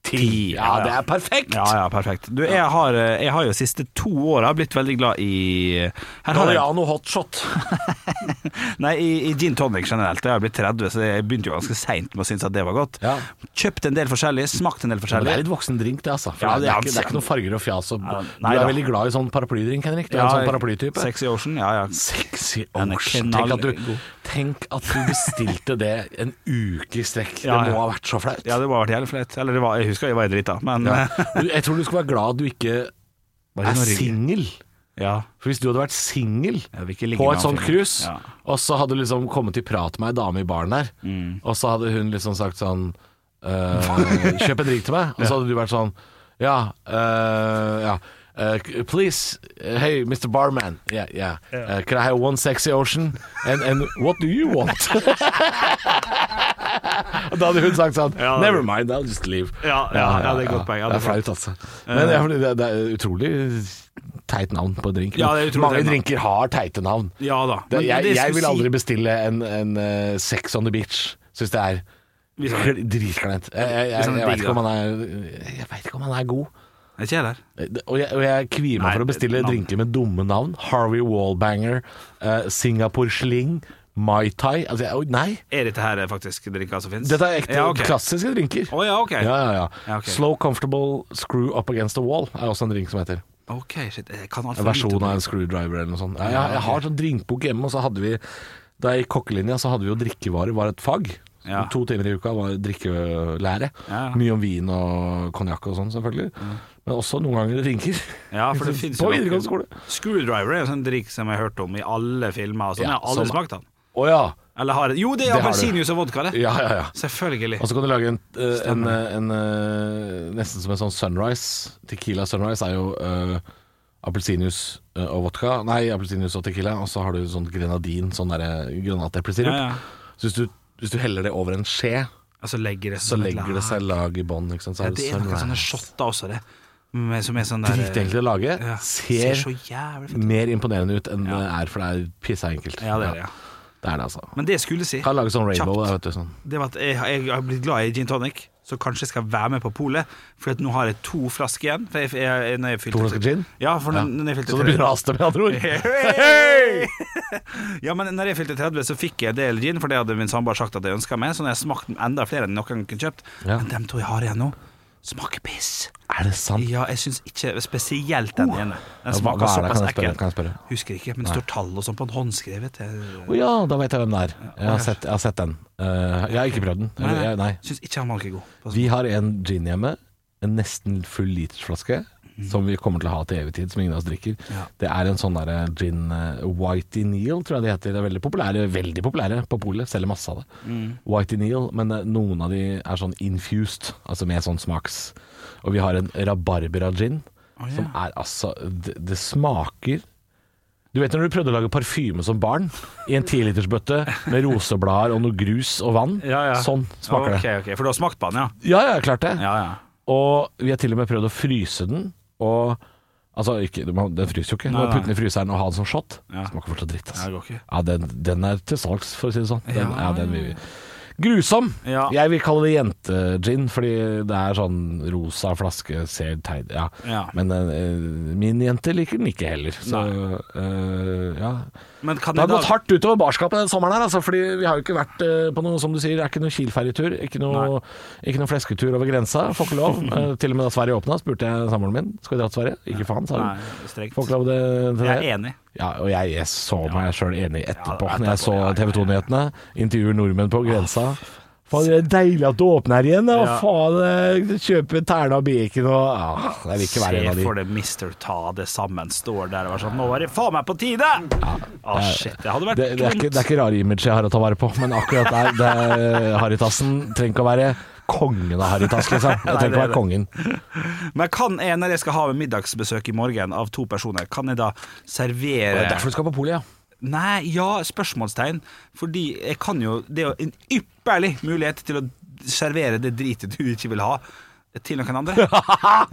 C: Ti. Ja,
E: Ja, ja.
C: det er perfekt!
E: ja, ja, perfekt. Du, jeg har, eh, jeg har jo de siste to åra blitt veldig glad i Her har jeg
C: Galliano hotshot.
E: Nei, i, i gin tonic generelt. Jeg har blitt 30, så jeg begynte jo ganske seint med å synes at det var godt.
C: Ja.
E: Kjøpt en del forskjellig, smakt en del
C: Det er
E: forskjellig.
C: litt voksen drink, det, altså. For
E: Ja,
C: det,
E: det
C: er
E: er
C: ikke, det er ikke noe farger og fjas. Og,
E: Ja,
C: du
E: nei
C: er
E: da.
C: veldig glad i sånn paraplydrink, Henrik. Du er
E: Ja,
C: en sånn paraplytype.
E: Sexy Ocean, ja ja.
C: Sexy
E: Den er
C: ocean. Tenk at, du,
E: knallgod.
C: tenk at du bestilte det en uke i strekk.
E: Ja,
C: Det
E: ja.
C: må ha vært så flaut.
E: Ja, det må ha vært jævlig flaut. Eller det var, jeg husker jeg var drita, men ja.
C: Du- Jeg tror du skal være glad du ikke er singel.
E: Ja.
C: For hvis du hadde vært singel
E: Jeg vil ikke ligge
C: på
E: med
C: et
E: han
C: sånt
E: fyren.
C: cruise,
E: Ja.
C: og så hadde du liksom kommet i prat med ei dame i baren der,
E: Mm.
C: og så hadde hun liksom sagt sånn eh, Kjøp en drink til meg. Og så hadde du vært sånn Ja, eh, ja. eh, please, eh, hey, Mr. Barman. Yeah, yeah. Eh, can I have one sexy ocean? And, and what do you want? Og da hadde hun sagt sånn
E: Ja, det-
C: Never mind, I'll just leave.
E: Ja, ja, ja, det er godt poeng, ja,
C: det
E: det
C: er
E: er
C: flaut, altså.
E: Eh.
C: Men det er, fordi det, det er utrolig teit navn på en drink.
E: Ja, det er utrolig
C: Mange
E: teit navn.
C: drinker har teite navn.
E: Ja da.
C: Det,
E: Men
C: jeg,
E: det
C: jeg
E: skulle
C: vil aldri
E: si-
C: bestille en, en eh, Sex on the Beach. Syns det er
E: Hvis han-
C: kl- dritkleint. Jeg, jeg,
E: Hvis
C: jeg,
E: han er
C: jeg veit
E: digg,
C: ikke om han er Jeg vet ikke om han er god.
E: Er Ikke jeg der?
C: Det- Og jeg, og jeg kvier meg
E: Nei,
C: for å bestille
E: navn.
C: drinker med dumme navn. Harvey Wallbanger, eh, Singapore Sling, Mai Tai altså, jeg, oi, Nei!
E: Er dette her eh, faktisk drinker som finnes?
C: Dette er ekte
E: ja, ok.
C: klassiske drinker.
E: Å ja, ok.
C: Ja, ja, ja.
E: Ja, ok.
C: Slow Comfortable Screw Up Against a Wall er også en drink som heter.
E: Ok, shit. Jeg kan alt
C: En
E: for lite
C: versjon
E: om
C: av en
E: det.
C: screwdriver eller noe sånt. Jeg, jeg, jeg har sånn drinkbok hjemme, og så hadde vi da jeg gikk kokkelinja, så hadde vi jo drikkevarer var et fag.
E: Ja.
C: To timer i uka var drikkelære.
E: Ja.
C: Mye om vin og konjakk og sånn, selvfølgelig. Men også noen ganger drinker.
E: Ja, for det finnes
C: På
E: jo
C: videregående
E: noen-
C: skole.
E: Screwdriver er jo en sånn drikk som jeg har hørt om i alle filmer. Og sånn.
C: Ja,
E: jeg har aldri
C: som-
E: smakt den.
C: Å ja.
E: Eller har jeg- Jo, det er
C: Det har du.
E: appelsinjuice og vodka, det.
C: Ja, ja, ja.
E: Selvfølgelig.
C: Og så kan du lage en, eh, en, eh, en eh, Nesten som en sånn sunrise. Tequila sunrise er jo eh, appelsinjuice eh, og vodka. Nei, appelsinjuice og tequila, og så har du sånn grenadin, sånn derre granateplesirup.
E: Ja, ja.
C: Så hvis du, hvis du heller det over en skje,
E: Og så legger det
C: så
E: som et
C: legger det
E: lag.
C: seg lag i bånn. ikke sant? Så
E: ja,
C: har du
E: Det er noen
C: sunrise.
E: sånne shotter også, det. Med, som er sånn der
C: Dritenkelt å lage.
E: Ja,
C: Ser,
E: så jævlig fett ut.
C: mer imponerende ut enn det er, for det er pissa enkelt.
E: Ja, det er det, ja.
C: Det er det, altså.
E: Men det jeg skulle si
C: Kan lage sånn rainbow.
E: Kjapt.
C: da, Vet du, sånn.
E: det var at jeg, jeg har blitt glad i gin tonic, så kanskje jeg skal være med på polet. For at nå har jeg to flasker igjen. For jeg, jeg, når jeg fylte,
C: To flasker gin?
E: Ja, for
C: Ja.
E: når, når jeg fylte
C: Så det begynner å haste, med andre ord.
E: Hey! ja, men når jeg fylte 30, så fikk jeg en del gin, for det hadde min samboer sagt at jeg ønska meg. Så når jeg smakte enda flere enn noen kunne kjøpt.
C: Ja.
E: Men dem to jeg har igjen nå, smaker piss.
C: Er det sant?
E: Ja, jeg syns ikke spesielt den ene. Den
C: Oh. hva-
E: smaker
C: hva er det?
E: såpass
C: Kan jeg spørre?
E: ekkelt.
C: Kan jeg spørre?
E: Husker ikke, men det står tall og sånn på den håndskrevet.
C: Å
E: Jeg,
C: ja, da vet jeg hvem det er. Jeg har sett, jeg har sett den. Eh, jeg har ikke prøvd den. Eller, jeg, nei.
E: Syns ikke han var like god. på-
C: Vi har en gin hjemme, en nesten full litersflaske, som vi kommer til å ha til evig tid, som ingen av oss drikker.
E: Mhm. Ja.
C: Det er en sånn derre gin eh, Whitey Neal, tror jeg det heter. Det er veldig populære, veldig populære på polet. Selger masse av det.
E: Mm.
C: Whitey Neal, men eh, noen av de er sånn infused, altså med sånn smaks. Og vi har en rabarbra-gin,
E: Å, ja.
C: som er altså det, det smaker du vet når du prøvde å lage parfyme som barn, i en tilitersbøtte med roseblader og noe grus og vann?
E: Ja, ja.
C: Sånn smaker det.
E: Ok, ok, For du har smakt på den, ja?
C: Ja, ja, klart det.
E: Ja, ja.
C: Og vi har til og med prøvd å fryse den, og Altså, ikke, du må- den fryser jo ikke. Du må
E: Nei, nei.
C: putte den i fryseren og ha den som shot.
E: Ja.
C: Smaker fortsatt dritt, altså.
E: Ja, det går ikke.
C: Ja, den, den er til salgs, for å si det sånn. Den, ja.
E: Ja.
C: den vil vi. Grusom!
E: Ja.
C: Jeg vil kalle det jentegin, fordi det er sånn rosa flaske, ser tegn ja.
E: Ja.
C: Men eh, min jente liker den ikke heller, så eh, ja.
E: Men kan
C: Det har
E: jeg da-
C: gått hardt utover barskapet den sommeren her, altså, fordi vi har jo ikke vært eh, på noe, som du sier, det er ikke noe Kiel-ferjetur, ikke, noe- ikke noe flesketur over grensa, får ikke lov. Eh, til og med da Sverige åpna, spurte jeg samboeren min, skal vi dra til Sverige? Ikke faen, sa
E: Nei,
C: hun.
E: strengt.
C: Får ikke lov det, til
E: Jeg
C: det.
E: er enig.
C: Ja, og jeg, jeg så meg sjøl enig etterpå,
E: Ja,
C: når jeg
E: etterpå,
C: så
E: ja, ja,
C: TV 2-nyhetene. Intervjuer nordmenn på grensa. Faen, det er deilig at du åpner her igjen, da.
E: Ja.
C: Faen, eh, kjøpe terne og bacon og ah, Jeg vil ikke være en av
E: Se
C: de.
E: for deg Mr. Ta det sammen står der og er sånn Nå var det faen meg på tide! Ja, Ah, shit, det hadde vært
C: Det, det, er ikke, det er ikke rare image jeg har å ta vare på, men akkurat der, det er Harrytassen trenger ikke å være kongen av Harrytass, liksom. Jeg trenger ikke å være kongen.
E: dumt. Men kan jeg, når jeg skal ha middagsbesøk i morgen av to personer, kan jeg da
C: Det er
E: servere
C: derfor du skal på polet, ja.
E: Nei, ja, spørsmålstegn. Fordi jeg kan jo Det er jo en ypperlig mulighet til å servere det dritet du ikke vil ha, til noen andre.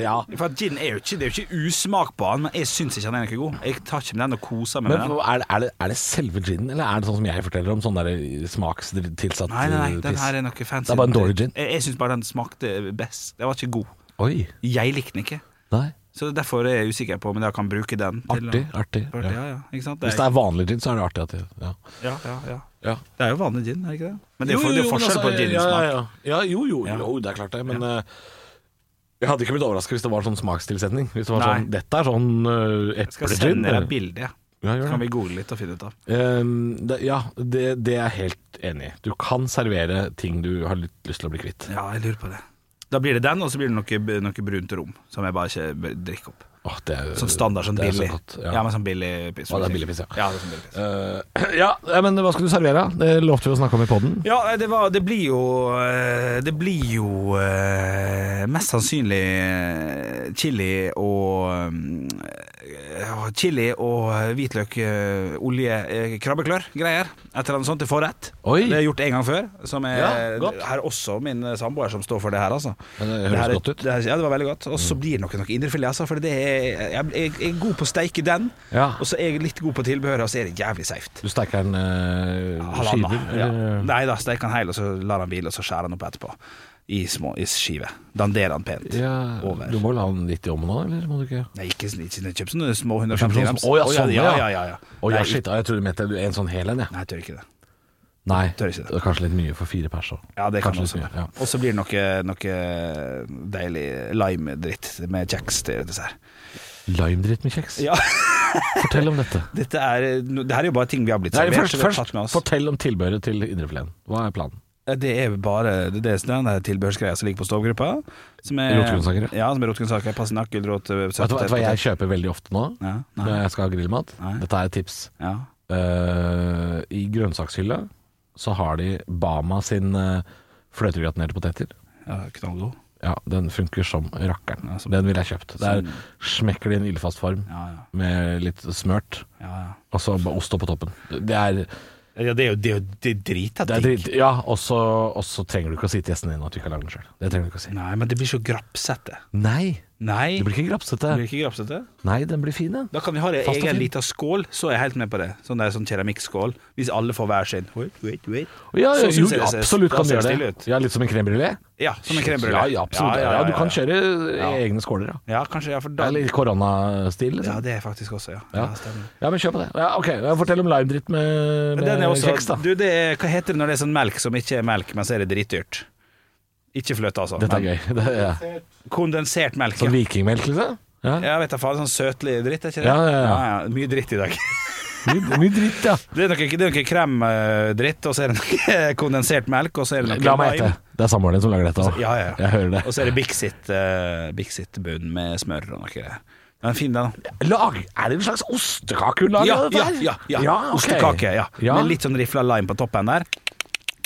C: ja.
E: For at gin er jo ikke, det er jo ikke usmak på han, men jeg syns ikke han er noe god. Jeg tar ikke med den og koser meg
C: Men
E: med den.
C: er det, er, det, er det selve ginen, eller er det sånn som jeg forteller om, sånn der smakstilsatt eh,
E: Nei, nei, nei, den
C: piss?
E: her er noe fancy.
C: Det er bare en dårlig gin.
E: Jeg, jeg syns bare den smakte best. Den var ikke god.
C: Oi.
E: Jeg likte den ikke.
C: Nei.
E: Så derfor er jeg usikker på om jeg kan bruke den. til-
C: Artig, artig.
E: Artig, ja, ja. Ikke sant?
C: Hvis det er vanlig gin, så er det artig at det Ja,
E: ja, ja, ja.
C: ja.
E: Det er jo vanlig gin, er det ikke det? Men det er jo, det er jo forskjell på gin
C: altså, ja,
E: smak.
C: ja, ja. ja, jo, jo, jo, det er klart det. Men eh, jeg hadde ikke blitt overraska hvis det var sånn smakstilsetning. Hvis det var
E: Nei.
C: sånn Dette er sånn uh,
E: Jeg skal sende deg et
C: eplegin.
E: bilde, ja.
C: Ja,
E: så
C: gjør
E: kan vi
C: det.
E: google litt og finne ut av.
C: Ehm, det, ja, det, det er jeg helt enig i. Du kan servere ting du har litt lyst til å bli kvitt.
E: Ja, jeg lurer på det. Da blir det den, og så blir det noe, noe brunt rom, som jeg bare ikke b- drikker opp.
C: Åh, det er,
E: Sånn standard, sånn
C: det er
E: billig.
C: så godt,
E: ja.
C: ja.
E: men sånn billig piss.
C: Å, det er billig piss, ja.
E: ja det er sånn billig piss.
C: Eh, ja, men hva skal du servere? Det lovte vi å snakke om i poden.
E: Ja, nei, det, var, det blir jo eh, Det blir jo eh, mest sannsynlig eh, chili og eh, eh, chili og hvitløk, eh, olje, eh, krabbeklør, greier. Et eller annet sånt til forrett.
C: Oi.
E: Det er gjort en gang før. Som er,
C: Ja, godt.
E: det er også min eh, samboer som står for det her, altså.
C: Ja, det høres
E: her er-
C: godt ut. Mm.
E: Det her, ja, det var veldig godt. Og så blir det nok noe indrefilet, altså. For det er, jeg, jeg, jeg er god på å steike den,
C: Ja.
E: og så er jeg litt god på tilbehøret, og så er det jævlig safe.
C: Du steiker den eh, skiver?
E: Ja.
C: eller-
E: Nei da, steik den hel, og så lar han hvile, og så skjærer han opp etterpå. I små i skive. Danderer han pent
C: Ja,
E: over.
C: Du må vel ha den litt i ovnen òg, eller må du ikke?
E: Nei, ikke, ikke, ikke kjøp sånne små 150
C: Sånn
E: grams.
C: som- Å ja, sånn,
E: ja, ja, ja, ja.
C: Å ja,
E: Nei,
C: shit. ja, Jeg trodde du mente en sånn hel en, jeg.
E: Nei, jeg tør ikke det.
C: Nei,
E: Tør ikke det.
C: er kanskje litt mye for fire pers òg.
E: Ja, det kan
C: Kanskje
E: også
C: litt mye,
E: være. Og så blir det noe, noe eh, deilig lime-dritt med kjeks til dessert.
C: ja. Limedritt med kjeks?
E: Ja.
C: Fortell om dette.
E: Dette er, det her er jo bare ting vi har blitt
C: Nei,
E: servert.
C: først,
E: så vi har tatt
C: først
E: med oss. Eh,
C: fortell om tilbehøret til indrefileten. Hva er planen?
E: Det er bare det er den der tilbehørsgreia som ligger på stovgruppa. Som er
C: Rotgrønnsaker,
E: Ja, som er rotgrønnsaker. Passenakk, gulrot, eh,
C: Vet du hva- vet du hva jeg kjøper veldig ofte nå
E: Ja, nei.
C: når jeg skal ha grillmat?
E: Nei.
C: Dette er et tips.
E: Ja.
C: Eh, I grønnsakshylla så har de Bama sin eh, fløtegratinerte poteter.
E: ja, knallgod.
C: Ja, den funker som rakkeren.
E: Ja, som-
C: den ville jeg kjøpt. Der
E: som-
C: smekker det i en ildfast form
E: Ja, ja.
C: med litt smørt,
E: Ja, ja.
C: og så bare ost oppå toppen. Det er
E: ja, det er jo det er jo- det er drita
C: Det er
E: digg.
C: dritt, ja, og så og så trenger du ikke å si til gjesten din at du ikke har lagd den sjøl. Det trenger du ikke å si.
E: Nei, men det blir så grapsete.
C: Nei,
E: Nei,
C: det blir ikke grapsete.
E: det blir ikke grapsete.
C: Nei, den blir fin, den.
E: Da kan vi ha en
C: Fast og
E: egen
C: fin.
E: liten skål, så er jeg helt med på det. Sånn der sånn keramikkskål. Hvis alle får hver sin. Wait, wait, wait.
C: Ja, ja,
E: Så Sånn synes
C: jo,
E: jeg det ser-
C: absolutt
E: da
C: kan du
E: ser
C: gjøre
E: stille
C: det.
E: ut.
C: Ja, Litt som en crème brulé?
E: Ja, som en crème brûlée.
C: Ja, ja, absolutt. Ja, du kan
E: ja.
C: kjøre egne skåler, ja.
E: Ja, kanskje. Ja, for
C: Det
E: da
C: er litt koronastil,
E: Ja,
C: liksom.
E: det er faktisk også, ja.
C: Ja.
E: ja. stemmer.
C: Ja, men kjør på det. Ja, ok, ja, Fortell om limedritt med,
E: Men den
C: med
E: er også
C: kjeks, da.
E: Du, det er, hva heter det når det er sånn melk som ikke er melk, men så er det dritdyrt? Ikke fløte, altså.
C: Dette
E: men
C: er gøy. Det er, ja.
E: Kondensert melk.
C: Sånn
E: ja.
C: vikingmelk, liksom? Ja.
E: Ja, vet da faen. Sånn søtlig dritt, er ikke det?
C: Ja, ja, ja.
E: Mye dritt i dag.
C: Mye, mye dritt, ja.
E: Det er noe, det er noe kremdritt, og så er det noe kondensert melk, og så er det noe
C: La meg gjette.
E: lime.
C: Det er samboeren din som lager dette òg.
E: Ja, ja, ja.
C: Jeg hører det.
E: Og så er det Bixit uh, Bixit bunn med smør og noe greier. Den er fin, den. da.
C: Lag, er det en slags ostekake hun lager?
E: Ja,
C: dette
E: ja,
C: her?
E: ja, ja.
C: ok.
E: Ostekake, ja.
C: Ja.
E: Med litt sånn rifla lime på toppen der.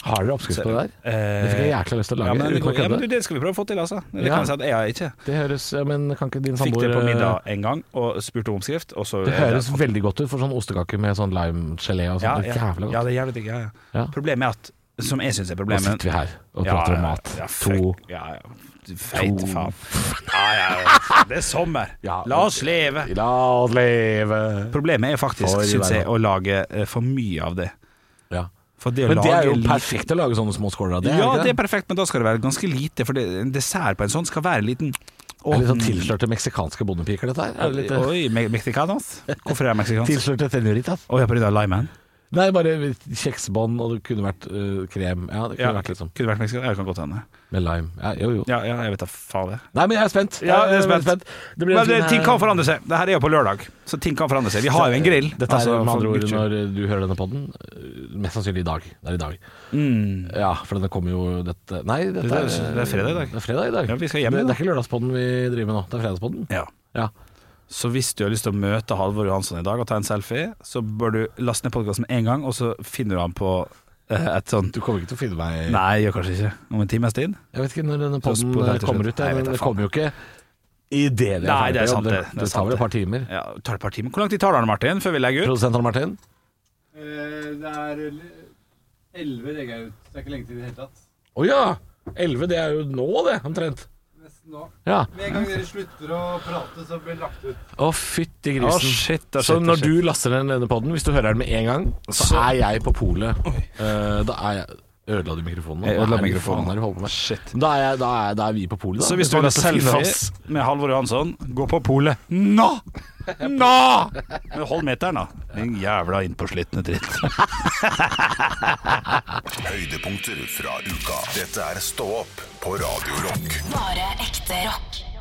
C: Har dere oppskrift på det der?
E: Eh,
C: det fikk jeg jækla lyst til å
E: Ja,
C: lage.
E: men, det,
C: uten å
E: går- ja,
C: kødde.
E: men du, det skal vi prøve å få til, altså. Det
C: Ja.
E: kan jeg si at jeg har ikke.
C: det høres ja, Men kan ikke din
E: Fikk
C: samboer
E: det på
C: eh,
E: middag en gang, og spurte om oppskrift, og så
C: Det høres veldig godt ut for sånn ostekake med sånn limegelé og sånn.
E: ja,
C: det
E: ja,
C: er jævla
E: Ja,
C: godt.
E: det er jævlig digg. Ja, ja.
C: Ja.
E: Problemet er at Som jeg syns er
C: Nå
E: problemet
C: sitter vi her og
E: Ja,
C: prater
E: ja,
C: om mat.
E: Ja, fuck.
C: to
E: ja, ja. Feit faen. Ja, ja, ja. Det er sommer.
C: Ja,
E: La oss leve.
C: La oss leve
E: Problemet er faktisk,
C: For i
E: syns jeg,
C: verden.
E: å lage eh, for mye av det.
C: ja.
E: For det å
C: Men det er
E: lage
C: jo
E: litt-
C: perfekt å lage sånne små skåler av. Det,
E: Ja,
C: er
E: det
C: det
E: er perfekt, men da skal det være ganske lite. For det, en dessert på en sånn skal være en liten Å,
C: er litt sånn
E: mm.
C: tilslørte meksikanske bondepiker, dette her. Er det litt, eh,
E: Oi, me- mexicanos? Hvorfor er jeg mexicansk?
C: tilslørte tenoritas.
E: Å, jeg har prøvd limen.
C: Nei, bare kjeksbånd, og det kunne vært eh, krem. Ja, det kunne vært litt sånn
E: Kunne vært mexican. Ja, det kan godt hende.
C: med lime. Ja, jo, jo.
E: Ja, ja, jeg vet da faen det.
C: Nei, men jeg er spent.
E: Ja, jeg er
C: veldig
E: spent.
C: Det blir
E: Men eh,
C: en
E: det,
C: fin- eh,
E: ting kan forandre seg. Det her er jo på lørdag, så ting kan forandre seg. Vi har jo en grill.
C: Dette er
E: Altså,
C: med
E: for
C: andre ord
E: Guds skyld.
C: når eh, du hører denne podden øh, Mest sannsynlig i dag. Det er i dag. Ja, for denne kommer jo dette Nei, dette
E: Mm. Det er- det er fredag i dag.
C: Det er fredag i dag.
E: Ja, vi skal hjem
C: det,
E: igjen,
C: det er
E: da.
C: ikke lørdagspodden vi driver med nå, det er fredagspodden.
E: ja.
C: Ja.
E: Så hvis du har lyst til å møte Halvor Johansson i dag og ta en selfie, så bør du laste ned podkasten med en gang, og så finner du han på eh, et sånt
C: Du kommer ikke til å finne meg
E: Nei, gjør kanskje ikke. Om en times tid.
C: Jeg vet ikke når denne
E: Så
C: podden
E: spor
C: øh,
E: helt til
C: kommer ut,
E: slutt. Nei,
C: ja,
E: jeg vet
C: men
E: da
C: det
E: faen.
C: kommer jo ikke i det vi er
E: Nei, det er
C: ferdig på
E: sant,
C: jobb.
E: det. Det er
C: Det
E: sant,
C: tar vel
E: det.
C: et par timer.
E: Ja, det tar et par timer. Hvor lang tid tar det, Arne Martin, før vi legger ut?
C: Produsent Arne Martin?
D: Eh, Det er l- 11 legger jeg ut. Det er ikke lenge til i det hele tatt.
C: Å ja! 11, det er jo nå, det, omtrent.
D: Nesten nå.
C: Ja.
D: Med en gang dere slutter å prate, så blir det lagt ut.
C: Å, fytti grisen.
E: Å, shit, å,
C: så
E: shit, å,
C: når
E: shit.
C: du laster ned denne podden, hvis du hører den med en gang, så, er jeg på polet. Eh, da er jeg Ødela du mikrofonen nå?
E: Jeg ødela
C: Hva er det
E: mikrofonen.
C: faen er det du holder på med?
E: Shit.
C: Da er, jeg, da, er, da er vi på polet, da.
E: Så hvis du
C: Faen,
E: har en
C: dette finner oss.
E: selfie med Halvor Johansson, gå på polet. Nå! Nå! Men hold meteren, da. Din jævla innpåslitne dritt.
A: Høydepunkter fra uka. Dette er Stå opp på Radio Rock.
B: Bare ekte rock.